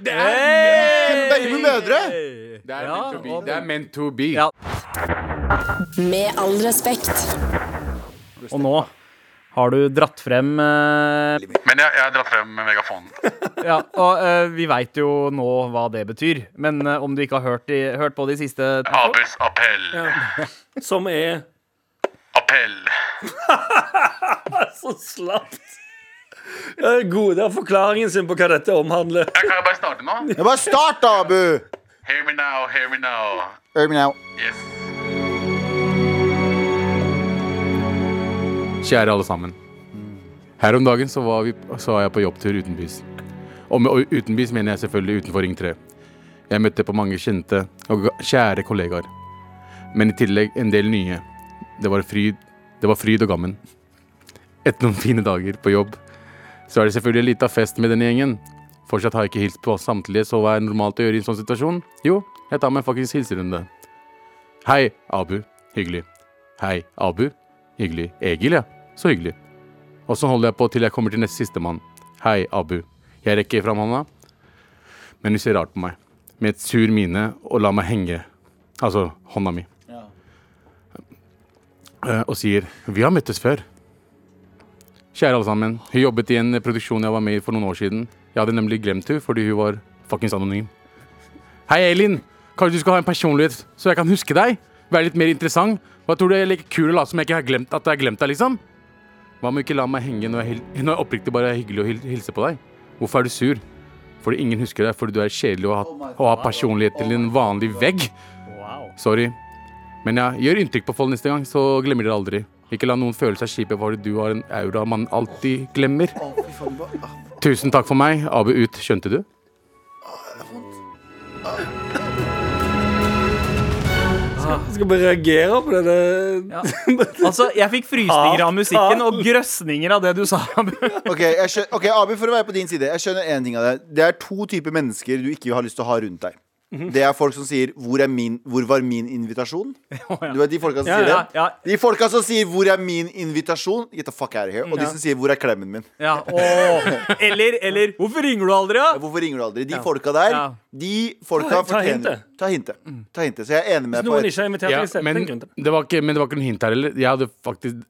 Speaker 4: Hey! Begge blir mødre
Speaker 3: Det er
Speaker 2: Ja,
Speaker 3: meant to be.
Speaker 2: og-
Speaker 3: Det er meant to be.
Speaker 2: Ja.
Speaker 1: Med all respekt.
Speaker 2: Og nå har du dratt frem eh,
Speaker 7: Men jeg, jeg har dratt frem megafonen.
Speaker 2: Ja, og eh, vi veit jo nå hva det betyr. Men eh, om du ikke har hørt, i, hørt på de siste
Speaker 7: Abels appell.
Speaker 5: Som er
Speaker 7: Appell.
Speaker 5: så slapt. Det er Gode av forklaringen sin på hva dette omhandler.
Speaker 7: Jeg kan jo bare starte nå.
Speaker 4: Det var start da, Abu
Speaker 7: Hear me now, hear me now.
Speaker 4: Hør meg nå.
Speaker 7: Yes.
Speaker 3: Kjære alle sammen. Her om dagen så var, vi, så var jeg på jobbtur utenbys. Og med og utenbys mener jeg selvfølgelig utenfor Ring 3. Jeg møtte på mange kjente og ga- kjære kollegaer. Men i tillegg en del nye. Det var fryd, det var fryd og gammen. Etter noen fine dager på jobb, så er det selvfølgelig en liten fest med denne gjengen. Fortsatt har jeg ikke hilst på samtlige, så hva er normalt å gjøre i en sånn situasjon? Jo, jeg tar meg en fuckings hilserunde. Hei, Abu. Hyggelig. Hei, Abu. Hyggelig. Egil, ja. Så hyggelig. Og så holder jeg på til jeg kommer til neste sistemann. Hei, Abu. Jeg rekker fram hånda, men hun ser rart på meg. Med et sur mine og lar meg henge. Altså hånda mi. Eh, og sier 'Vi har møttes før'. Kjære alle sammen. Hun jobbet i en produksjon jeg var med i for noen år siden. Jeg hadde nemlig glemt hun fordi hun var fuckings anonym. Hei, Elin. Kanskje du skal ha en personlighet så jeg kan huske deg? Være litt mer interessant? Hva tror du er like kul å late som jeg ikke har glemt at jeg har glemt deg, liksom? Hva med å ikke la meg henge når jeg, hil- når jeg oppriktig bare er hyggelig og hil hilse på deg? Hvorfor er du sur? Fordi ingen husker deg fordi du er kjedelig og har, og har personlighet til en vanlig vegg. Sorry. Men ja, gjør inntrykk på folk neste gang, så glemmer dere aldri. Ikke la noen føle seg kjipe fordi du har en aura man alltid glemmer. Tusen takk for meg. Abu ut. Skjønte du?
Speaker 8: Skal bare reagere på denne
Speaker 2: Altså, jeg fikk frysninger av musikken og grøsninger av det du sa.
Speaker 4: Ok, jeg skjøn- ok, Abu, for å være på din side. Jeg skjønner en ting av det. Det er to typer mennesker du ikke har lyst til å ha rundt deg.
Speaker 2: Mhm.
Speaker 4: Det er folk som sier 'Hvor, er min, hvor var min invitasjon?' Du vet de folka som
Speaker 2: Ja,
Speaker 4: sier
Speaker 2: ja,
Speaker 4: det?
Speaker 2: ja.
Speaker 4: De folka som sier 'Hvor er min invitasjon?' Get the fuck out of here. Og de som sier 'Hvor er klemmen min?'
Speaker 2: Ja, åh. eller, eller Hvorfor ringer du aldri, da?
Speaker 4: Hvorfor ringer du aldri? De folka der,
Speaker 2: Ja.
Speaker 4: de folka
Speaker 5: Ta- ta
Speaker 4: fortjener
Speaker 5: hintet.
Speaker 4: Ta hintet.
Speaker 2: Mm.
Speaker 4: Ta hintet. Så jeg er enig med deg
Speaker 5: Hvis
Speaker 4: på et
Speaker 5: noen ikke har invitert
Speaker 3: Ja,
Speaker 5: deg selv,
Speaker 3: men,
Speaker 5: den grunnen til det.
Speaker 3: det var ikke, men det var ikke noe hint her heller. Jeg hadde faktisk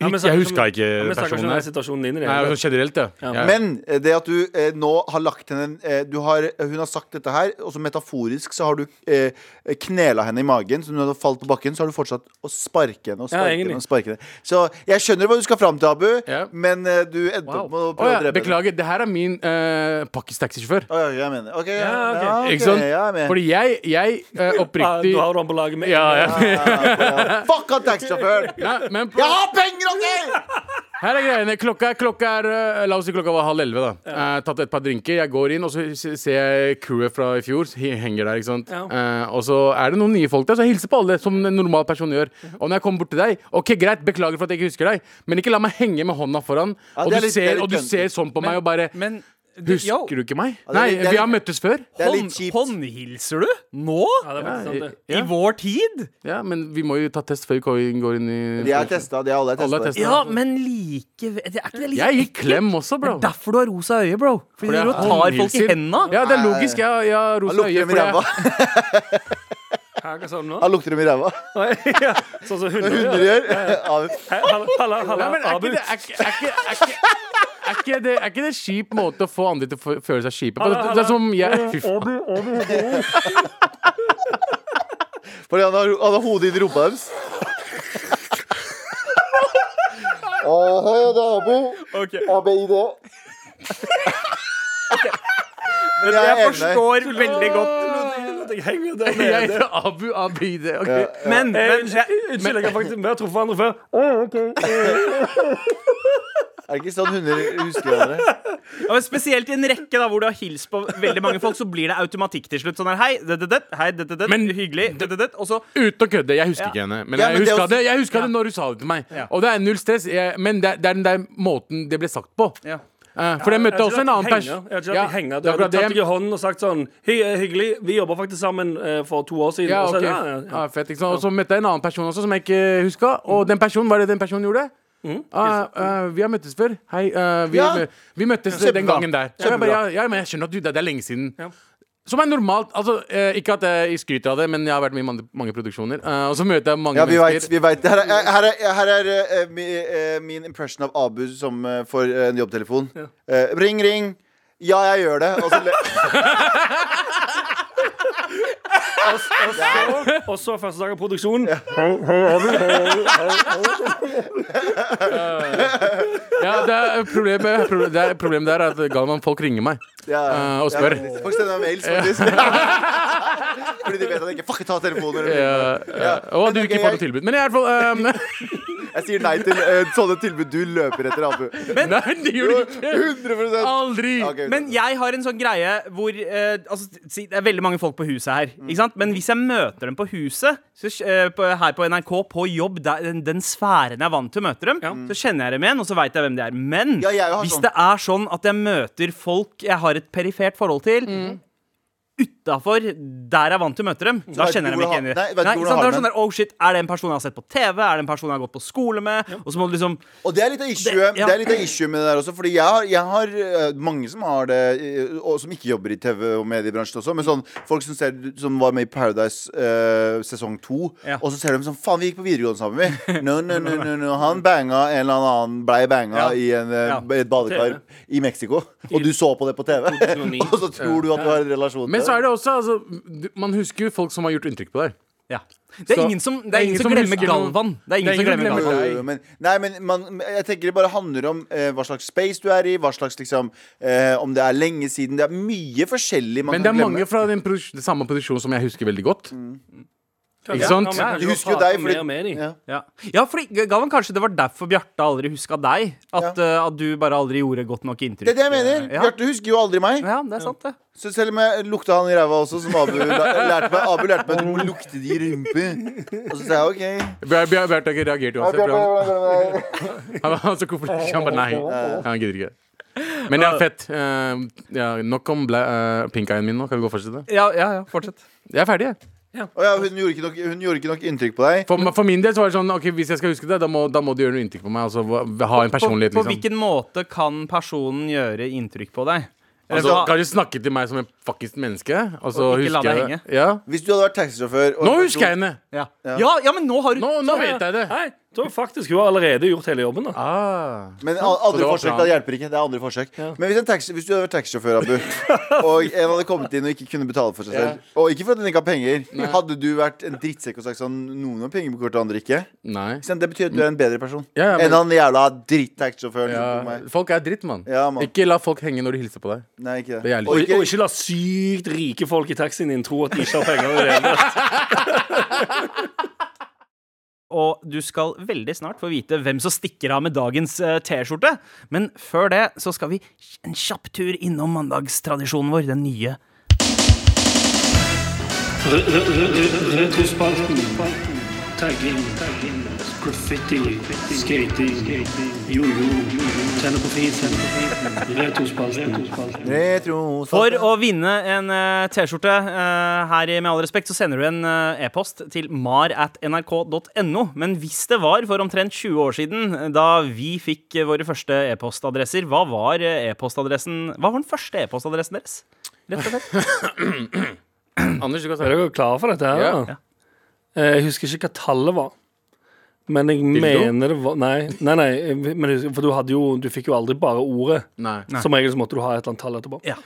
Speaker 5: Ja, men
Speaker 3: Jeg
Speaker 5: snakker
Speaker 3: huska
Speaker 5: ikke
Speaker 3: ikke
Speaker 5: om- ja, men snakker ikke om
Speaker 3: personen
Speaker 5: den
Speaker 3: her.
Speaker 5: situasjonen din i det
Speaker 3: Nei,
Speaker 5: hele
Speaker 3: altså, generelt, ja. ja.
Speaker 4: Men eh, det at du eh, nå har lagt henne eh, du har, Hun har sagt dette her, og så metaforisk så har du eh, knela henne i magen. Så når hun har falt på bakken, så har du fortsatt å sparke henne. og
Speaker 5: Ja,
Speaker 4: sparke
Speaker 5: egentlig.
Speaker 4: henne, og sparke henne Så jeg skjønner hva du skal fram til, Abu,
Speaker 3: Ja.
Speaker 4: men eh, du endte opp med
Speaker 3: Å
Speaker 4: å prøve
Speaker 3: ja,
Speaker 4: å drepe henne.
Speaker 3: beklager. Det her er min uh, pakkistaxisjåfør.
Speaker 4: Å, ja, jeg mener. Ok, ja,
Speaker 5: Ja, ok.
Speaker 4: ja, ok,
Speaker 3: Ikke sant?
Speaker 4: ja, jeg er med.
Speaker 3: Fordi jeg, jeg eh,
Speaker 5: Ja,
Speaker 3: oppriktig
Speaker 5: du har han på laget med
Speaker 3: ja, ja.
Speaker 4: Fuck han taxisjåføren!
Speaker 3: Nei, men på,
Speaker 4: Jeg har penger, OK!
Speaker 3: Her er greiene. Klokka, klokka er eh, La oss si klokka var halv elleve. da Eh, Tatt et par drinker. Jeg går inn, og så s- ser jeg crewet fra i fjor. he- Henger der, ikke sant.
Speaker 5: Ja.
Speaker 3: Eh, og så er det noen nye folk der, så jeg hilser på alle, som en normal person gjør. Og når jeg kommer bort til deg OK, greit, beklager for at jeg ikke husker deg, men ikke la meg henge med hånda foran.
Speaker 4: Ja,
Speaker 3: og,
Speaker 4: det
Speaker 3: du
Speaker 4: er litt- det er
Speaker 3: ser,
Speaker 4: litt
Speaker 3: og du
Speaker 4: kønt.
Speaker 3: ser sånn på meg og bare
Speaker 2: Men du,
Speaker 3: Husker
Speaker 2: yo,
Speaker 3: du ikke meg?
Speaker 4: det er
Speaker 3: Nei,
Speaker 4: litt- det er
Speaker 3: vi har
Speaker 4: litt-
Speaker 3: møttes før.
Speaker 4: Det er
Speaker 2: hånd,
Speaker 4: litt kjipt.
Speaker 2: håndhilser du? Nå?
Speaker 5: Ja, det er faktisk sant, det.
Speaker 2: I
Speaker 3: Ja,
Speaker 2: vår tid?
Speaker 3: ja, men vi må jo ta test før vi går- går inn i
Speaker 4: De er testa, de alle
Speaker 3: Alle
Speaker 4: er
Speaker 3: er
Speaker 4: testa.
Speaker 3: testet.
Speaker 2: Ja, men likevel Det er ikke det like
Speaker 3: Jeg gikk klem også, bro.
Speaker 2: Derfor du har rosa øye, bro. Fordi
Speaker 3: jeg
Speaker 2: du tar folk i
Speaker 3: håndhilser.
Speaker 2: henda.
Speaker 3: Ja, det er logisk. Jeg, jeg har
Speaker 4: Han
Speaker 3: rosa
Speaker 4: lukter
Speaker 3: øye.
Speaker 4: dem i
Speaker 3: fordi jeg-
Speaker 4: ræva.
Speaker 5: Hva sa du nå?
Speaker 4: Han lukter dem i ræva.
Speaker 5: Ja, Sånn som hunder gjør.
Speaker 4: Hunder gjør. Abu.
Speaker 5: Hei, Halla, halla,
Speaker 3: Nei, men
Speaker 5: halla,
Speaker 3: er
Speaker 5: Abu.
Speaker 3: ikke det er ikke- er ikke- er ikke- er ikke det er ikke det kjip måte å få andre til å fø- føle seg kjipe på? Det, det er som om jeg Fy faen.
Speaker 4: Fordi han har, han har hodet i rumpa deres. Å, Eh, hei, det er Abu. ABID. Men
Speaker 2: Jeg
Speaker 4: jeg er enig med deg.
Speaker 2: forstår veldig godt.
Speaker 5: Jeg henger der
Speaker 3: Jeg
Speaker 5: nede.
Speaker 3: heter Abu Abid. ok.
Speaker 2: Men, men
Speaker 5: Eh,
Speaker 2: jeg,
Speaker 5: Unnskyld, unnskyld, jeg har faktisk vi har truffet hverandre før.
Speaker 4: Er det ikke sånn hunder husker hverandre?
Speaker 2: Ja, men Spesielt i en rekke da hvor du har hilst på veldig mange folk, så blir det automatikk til slutt. Sånn her, hei, det, det, det, hei, det, det, det,
Speaker 3: Men-
Speaker 2: hyggelig, det, det, det, og så
Speaker 3: Uten å kødde. Jeg husker ikke henne. Men
Speaker 4: Ja,
Speaker 3: jeg
Speaker 4: men det er
Speaker 3: huska
Speaker 4: også-
Speaker 3: det, jeg husker det når hun sa det til meg. Og det er null stress. Jeg, men det, er- det er den der måten det ble sagt på.
Speaker 2: ja.
Speaker 3: Eh, for jeg
Speaker 5: Jeg
Speaker 3: møtte
Speaker 5: har
Speaker 3: også
Speaker 5: ikke
Speaker 3: en
Speaker 5: latt
Speaker 3: annen
Speaker 5: deg
Speaker 3: person.
Speaker 5: henge. Jeg har ikke latt deg henge. Du
Speaker 3: det er
Speaker 5: hadde
Speaker 3: akkurat
Speaker 5: tatt
Speaker 3: det.
Speaker 5: deg i hånden og sagt sånn Hei, eh, hyggelig, vi jobba faktisk sammen eh, for to år siden.
Speaker 3: Ja,
Speaker 5: Og så-
Speaker 3: ok.
Speaker 5: ja, ja, ja.
Speaker 3: Ja, fett, ikke sant? Og så møtte jeg en annen person også som jeg ikke huska.
Speaker 4: Mm.
Speaker 3: Og den personen, hva er det den personen gjorde? Ah, ah, vi har møttes før. Hei. ah, vi,
Speaker 4: Ja.
Speaker 3: mø- vi møttes
Speaker 4: Kjempebra.
Speaker 3: den gangen der. Så jeg bare,
Speaker 4: Kjempebra.
Speaker 3: ja, ja, men jeg skjønner at du, det, det er lenge siden. Som er normalt. altså eh, Ikke at jeg skryter av det, men jeg har vært med i mange, mange produksjoner. eh, og så møter jeg mange
Speaker 4: Ja, vi veit.
Speaker 3: mennesker.
Speaker 4: Vi vet. Her er, her er, her er eh, mi, eh, min impression av Abu som eh, får eh, en jobbtelefon. Eh, ring, ring. Ja, jeg gjør det. Og så le
Speaker 5: Og, s- og, så, og så første dag av produksjonen.
Speaker 3: Ja, det er problemet, proble- det er problemet der er at Galvan, folk ringer meg.
Speaker 4: Ja,
Speaker 3: Eh, og spør.
Speaker 4: Ja, faktisk. folk sender meg mails, faktisk. Fordi de vet at jeg ikke fucker ta telefoner.
Speaker 3: Eh, eh, og du
Speaker 4: Men, ok,
Speaker 3: ikke får
Speaker 4: jeg-
Speaker 3: noe tilbud. Men i hvert fall eh,
Speaker 4: Jeg sier nei til eh, sånne tilbud du løper etter, Abu.
Speaker 3: Nei, det gjør du ikke!
Speaker 4: 100
Speaker 3: Aldri!
Speaker 4: Ok,
Speaker 2: Men jeg har en sånn greie hvor eh, altså, si, Det er veldig mange folk på huset her. Ikke sant? Men hvis jeg møter dem på huset, så, eh, på, her på NRK, på jobb, der, den, den sfæren jeg er vant til å møte dem, så kjenner jeg dem igjen, og så veit jeg hvem de er. Men
Speaker 4: Ja, jeg har
Speaker 2: hvis
Speaker 4: sånn.
Speaker 2: det er sånn at jeg møter folk jeg har et perifert forhold til utafor der jeg er vant til å møte dem, da
Speaker 4: vet
Speaker 2: kjenner jeg dem
Speaker 4: ikke hvor
Speaker 2: ikke igjen.
Speaker 4: han-
Speaker 2: i det.
Speaker 4: Nei, vet ikke
Speaker 2: Nei,
Speaker 4: hvor
Speaker 2: ikke
Speaker 4: han
Speaker 2: sant? Det
Speaker 4: har
Speaker 2: er sånn
Speaker 4: den.
Speaker 2: der, oh shit, er det en person jeg har sett på TV? Er det en person jeg har gått på skole med? Og så må du liksom
Speaker 4: Og det er litt av issue, det,
Speaker 2: Det- ja.
Speaker 4: er litt av issue med det der også. Fordi jeg har, jeg har eh, mange som har det, eh, og som ikke jobber i TV og mediebransjen også, men sånn folk som, ser, som var med i Paradise eh, sesong to,
Speaker 2: Ja.
Speaker 4: og så ser de sånn Faen, vi gikk på videregående sammen, vi. No, no, no, no, no. Han banga en eller annen, blei banga
Speaker 2: Ja.
Speaker 4: i en, eh,
Speaker 2: Ja.
Speaker 4: et badekar i Mexico, og du så på det på TV,
Speaker 2: 2009.
Speaker 4: og så tror du at du har en relasjon
Speaker 3: Men så er
Speaker 4: til det.
Speaker 3: det også altså, Man husker jo folk som har gjort inntrykk på deg.
Speaker 2: Ja. Det er
Speaker 3: Så-
Speaker 2: ingen som, det er ingen som glemmer
Speaker 3: husker noe.
Speaker 2: Galvan. Det er ingen som glemmer
Speaker 3: glemmer
Speaker 2: Galvan.
Speaker 4: Jo, jo, Men, nei, men man, jeg tenker det bare handler om eh, hva slags space du er i, hva slags liksom eh, Om det er lenge siden. Det er mye forskjellig man
Speaker 3: Men det er
Speaker 4: kan glemme.
Speaker 3: mange fra den produs- den samme produksjonen som jeg husker veldig godt. Ikke sant?
Speaker 4: Du husker jo deg, fordi-
Speaker 5: fordi med de.
Speaker 4: Ja.
Speaker 2: Ja. ja, fordi G- Galvan, kanskje det var derfor Bjarte aldri huska deg. At, eh, at du bare aldri gjorde godt nok inntrykk.
Speaker 4: Det er det jeg mener.
Speaker 2: Ja.
Speaker 4: Bjarte husker jo aldri meg.
Speaker 2: Ja, det er sant, det.
Speaker 4: Så selv om jeg lukta han i ræva også, som Abu la- lærte meg Abu lærte meg at du må lukte de i rumpa. Og så sa jeg OK.
Speaker 3: Bjar- Bjar- Bjarte har ikke reagert uansett. for han-
Speaker 4: Bjarte,
Speaker 3: Han var så konfliktfylt. Han bare nei. Han gidder ikke. Men ja, fett. Eh, ja, nok om bla, eh, pink-eyen min nå. Kan vi gå og fortsette?
Speaker 2: Ja, ja, ja fortsett.
Speaker 3: Jeg er ferdig, jeg.
Speaker 4: Å ja, hun, gjorde ikke nok, hun gjorde ikke nok inntrykk på deg.
Speaker 3: For, for min del så var det sånn Ok, hvis jeg skal huske det, da må, da må du gjøre noe inntrykk på meg. Altså hva- ha en
Speaker 2: På,
Speaker 3: personlighet,
Speaker 2: på
Speaker 3: liksom.
Speaker 2: hvilken måte kan personen gjøre inntrykk på deg? Eller
Speaker 3: Altså,
Speaker 2: hva-
Speaker 3: kan du snakke til meg som en fuckings menneske? Og så
Speaker 2: Og ikke la
Speaker 3: husker
Speaker 2: deg
Speaker 3: jeg det. Ja.
Speaker 4: Hvis du hadde vært taxisjåfør og-
Speaker 3: Nå husker jeg henne!
Speaker 2: ja. Ja, ja, men nå har du
Speaker 3: Nå, nå vet jeg det.
Speaker 5: Nei, da faktisk, hun har allerede gjort hele jobben. da
Speaker 3: Ah.
Speaker 4: Men a- andre
Speaker 3: det var
Speaker 4: forsøk
Speaker 3: bra.
Speaker 4: da hjelper ikke. Det er andre forsøk Men hvis, en taxi, hvis du hadde vært taxisjåfør, Abu, og en hadde kommet inn og ikke kunne betale for seg selv, og ikke for at den ikke har penger, hadde du vært en drittsekk og sagt sånn Noen har penger på kortet, andre ikke?
Speaker 3: Nei.
Speaker 4: Ikke sant? Det betyr at du er en bedre person
Speaker 3: Ja, ja,
Speaker 4: enn
Speaker 3: men,
Speaker 4: han jævla dritt-taxisjåføren som tok
Speaker 3: ja,
Speaker 4: meg.
Speaker 3: folk er dritt, mann.
Speaker 4: Ja, mann.
Speaker 3: Ikke la folk henge når de hilser på deg.
Speaker 4: Nei,
Speaker 3: Det
Speaker 4: ikke det.
Speaker 3: er jævlig
Speaker 5: Og,
Speaker 3: kjipt.
Speaker 5: ikke- og ikke la sykt rike folk i taxien din tro at de ikke har penger. i det hele tatt.
Speaker 2: Og du skal veldig snart få vite hvem som stikker av med dagens eh, T-skjorte. Men før det så skal vi en kjapp tur innom mandagstradisjonen vår, den nye.
Speaker 9: Retrospalten. Tagging. Graffiti. Skating. Jojo. Tenner på fisen. Retrospalten.
Speaker 4: Retro
Speaker 2: For å vinne en eh, T-skjorte eh, her i Med all respekt, så sender du en eh, e-post til mar at nrk.no. Men hvis det var for omtrent 20 år siden, eh, da vi fikk eh, våre første e-postadresser, hva var eh, e-postadressen Hva var den første e-postadressen deres? Rett og slett.
Speaker 3: Anders, du kan
Speaker 5: Er
Speaker 3: si
Speaker 5: dere klare for dette? her?
Speaker 3: Ja.
Speaker 5: da? Eh, Jeg husker ikke hva tallet var. Men jeg mener det var Nei, nei, nei jeg- men jeg husker- for du, hadde jo, du fikk jo aldri bare ordet.
Speaker 3: Nei.
Speaker 5: Som regel så måtte du ha et eller annet tall etterpå.
Speaker 2: Ja.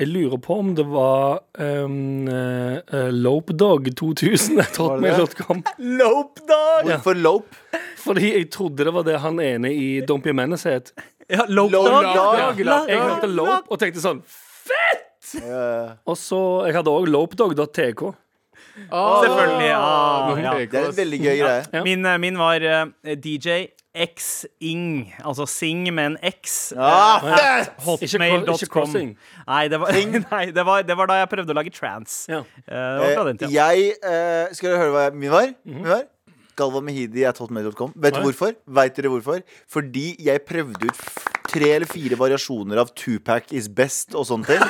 Speaker 5: Jeg lurer på om det var um, eh, eh, Lopedog2000 at hotmail.com.
Speaker 4: Hvorfor lope?
Speaker 5: Fordi jeg trodde det var det han ene i Don't Be a Menace het.
Speaker 2: Ja, Low
Speaker 4: Dog.
Speaker 5: Jeg hørte Lope og tenkte sånn Fett! Og så, Jeg hadde òg lopedog.tk.
Speaker 2: Selvfølgelig. Ja, ja.
Speaker 4: Det er en veldig gøy greie.
Speaker 5: Ja.
Speaker 2: Min, eh, min var eh, DJ X-Ing. Altså Sing med en X. eh,
Speaker 4: Ah,
Speaker 2: at
Speaker 5: Ikke cro- ikke
Speaker 2: Hotmail.com.
Speaker 5: crossing.
Speaker 2: Nei, det var, nei det, var, det var da jeg prøvde å lage trans.
Speaker 5: Ja.
Speaker 2: Eh, det var fra den Mhm. tida.
Speaker 4: Jeg eh, Skal dere høre hva min var? Min var? Galvan Mehidi at hotmail.com. Vet du hvorfor? Vet dere hvorfor? Fordi jeg prøvde ut f- tre eller fire variasjoner av Tupac is best og sånne ting.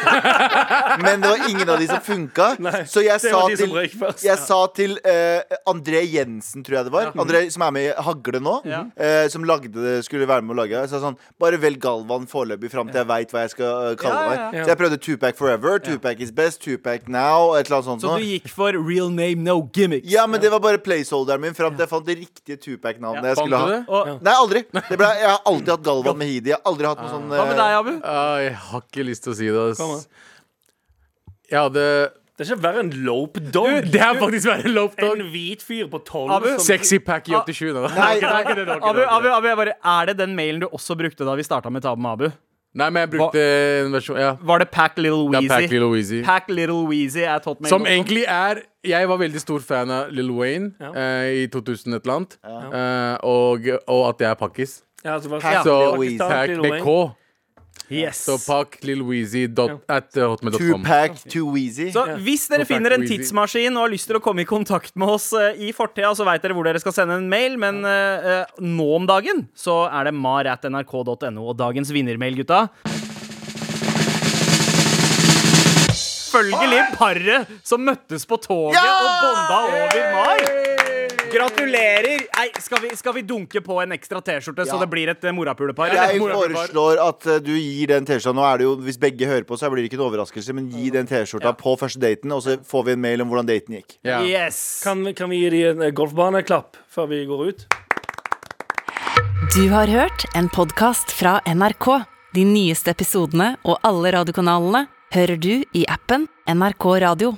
Speaker 4: Men det var ingen av de som funka. Så jeg
Speaker 5: det
Speaker 4: sa
Speaker 5: var de
Speaker 4: til,
Speaker 5: som røyk først.
Speaker 4: jeg sa til eh, André Jensen, tror jeg det var, André, som er med i Hagle nå,
Speaker 2: Ja.
Speaker 4: eh, som lagde det, skulle være med å lage det, sa sånn Bare velg Galvan foreløpig fram til jeg veit hva jeg skal eh, kalle
Speaker 2: Ja,
Speaker 4: meg.
Speaker 2: ja,
Speaker 5: ja.
Speaker 4: Så jeg prøvde Tupac Forever, Tupac is best, Tupac now, et eller annet sånt.
Speaker 2: Så
Speaker 4: nå.
Speaker 2: du gikk for real name, no gimmicks.
Speaker 4: Ja, men det var bare placeholderen min fram til jeg fant det riktige Tupac-navnet jeg
Speaker 3: Fant
Speaker 4: skulle
Speaker 3: du
Speaker 4: ha.
Speaker 3: det?
Speaker 2: Og,
Speaker 4: Nei, aldri. Det ble, jeg har alltid hatt Galvan Mehidi. Jeg har aldri hatt noe sånn
Speaker 2: Hva med deg,
Speaker 4: eh,
Speaker 2: Abu?
Speaker 3: Ah, jeg har ikke lyst til å si det.
Speaker 5: Kom,
Speaker 3: Ass. Jeg hadde
Speaker 5: Det er ikke verre enn lopedog.
Speaker 3: Det er faktisk verre lope dog.
Speaker 5: En hvit fyr på tolv
Speaker 2: Abu?
Speaker 5: som
Speaker 3: Sexy pack i 87. Da.
Speaker 4: Nei,
Speaker 2: Abu, Abu, Abu, jeg bare, er det den mailen du også brukte da vi starta med Tab med Abu?
Speaker 3: Nei, men jeg brukte en versjon Ja.
Speaker 2: Var det Pack Little
Speaker 3: Det er Pack
Speaker 2: Weezy?
Speaker 3: Little Weezy.
Speaker 2: Pack Little Weezy at hotmail.com.
Speaker 3: Som egentlig er Jeg var veldig stor fan av Lil Wayne eh, i 2000 et eller annet. Eh, og, og at jeg er pakkis.
Speaker 5: ja, så var
Speaker 4: Pack
Speaker 3: Så
Speaker 4: Lil Weezy.
Speaker 3: pack
Speaker 5: Lil
Speaker 3: med
Speaker 5: Wayne.
Speaker 3: K.
Speaker 2: Yes.
Speaker 3: Så pakk lillweezy dot at eh, hotmail.com.
Speaker 4: Tupac to Weezy.
Speaker 2: Så hvis dere
Speaker 3: Contact
Speaker 2: finner en
Speaker 3: Weezy.
Speaker 2: tidsmaskin og har lyst til å komme i kontakt med oss eh, i fortida, så veit dere hvor dere skal sende en mail, men eh, eh, nå om dagen så er det mar.nrk.no. Og dagens vinnermail, gutta selvfølgelig
Speaker 4: Ah!
Speaker 2: paret som møttes på toget og bonda over mai. Gratulerer! Nei, skal, vi, skal vi dunke på en ekstra T-skjorte, så
Speaker 4: Ja.
Speaker 2: det blir et eh, morapulepar?
Speaker 4: Jeg
Speaker 2: Eller?
Speaker 4: foreslår at eh, du gir den T-skjorta Nå er det jo, Hvis begge hører på, så blir det ikke en overraskelse, men gi den T-skjorta på første daten, og så får vi en mail om hvordan daten gikk.
Speaker 3: Ja.
Speaker 2: Yes!
Speaker 5: Kan, kan vi gi dem en eh, golfbaneklapp før vi går ut?
Speaker 1: Du har hørt en podkast fra NRK. De nyeste episodene og alle radiokanalene hører du i appen NRK Radio.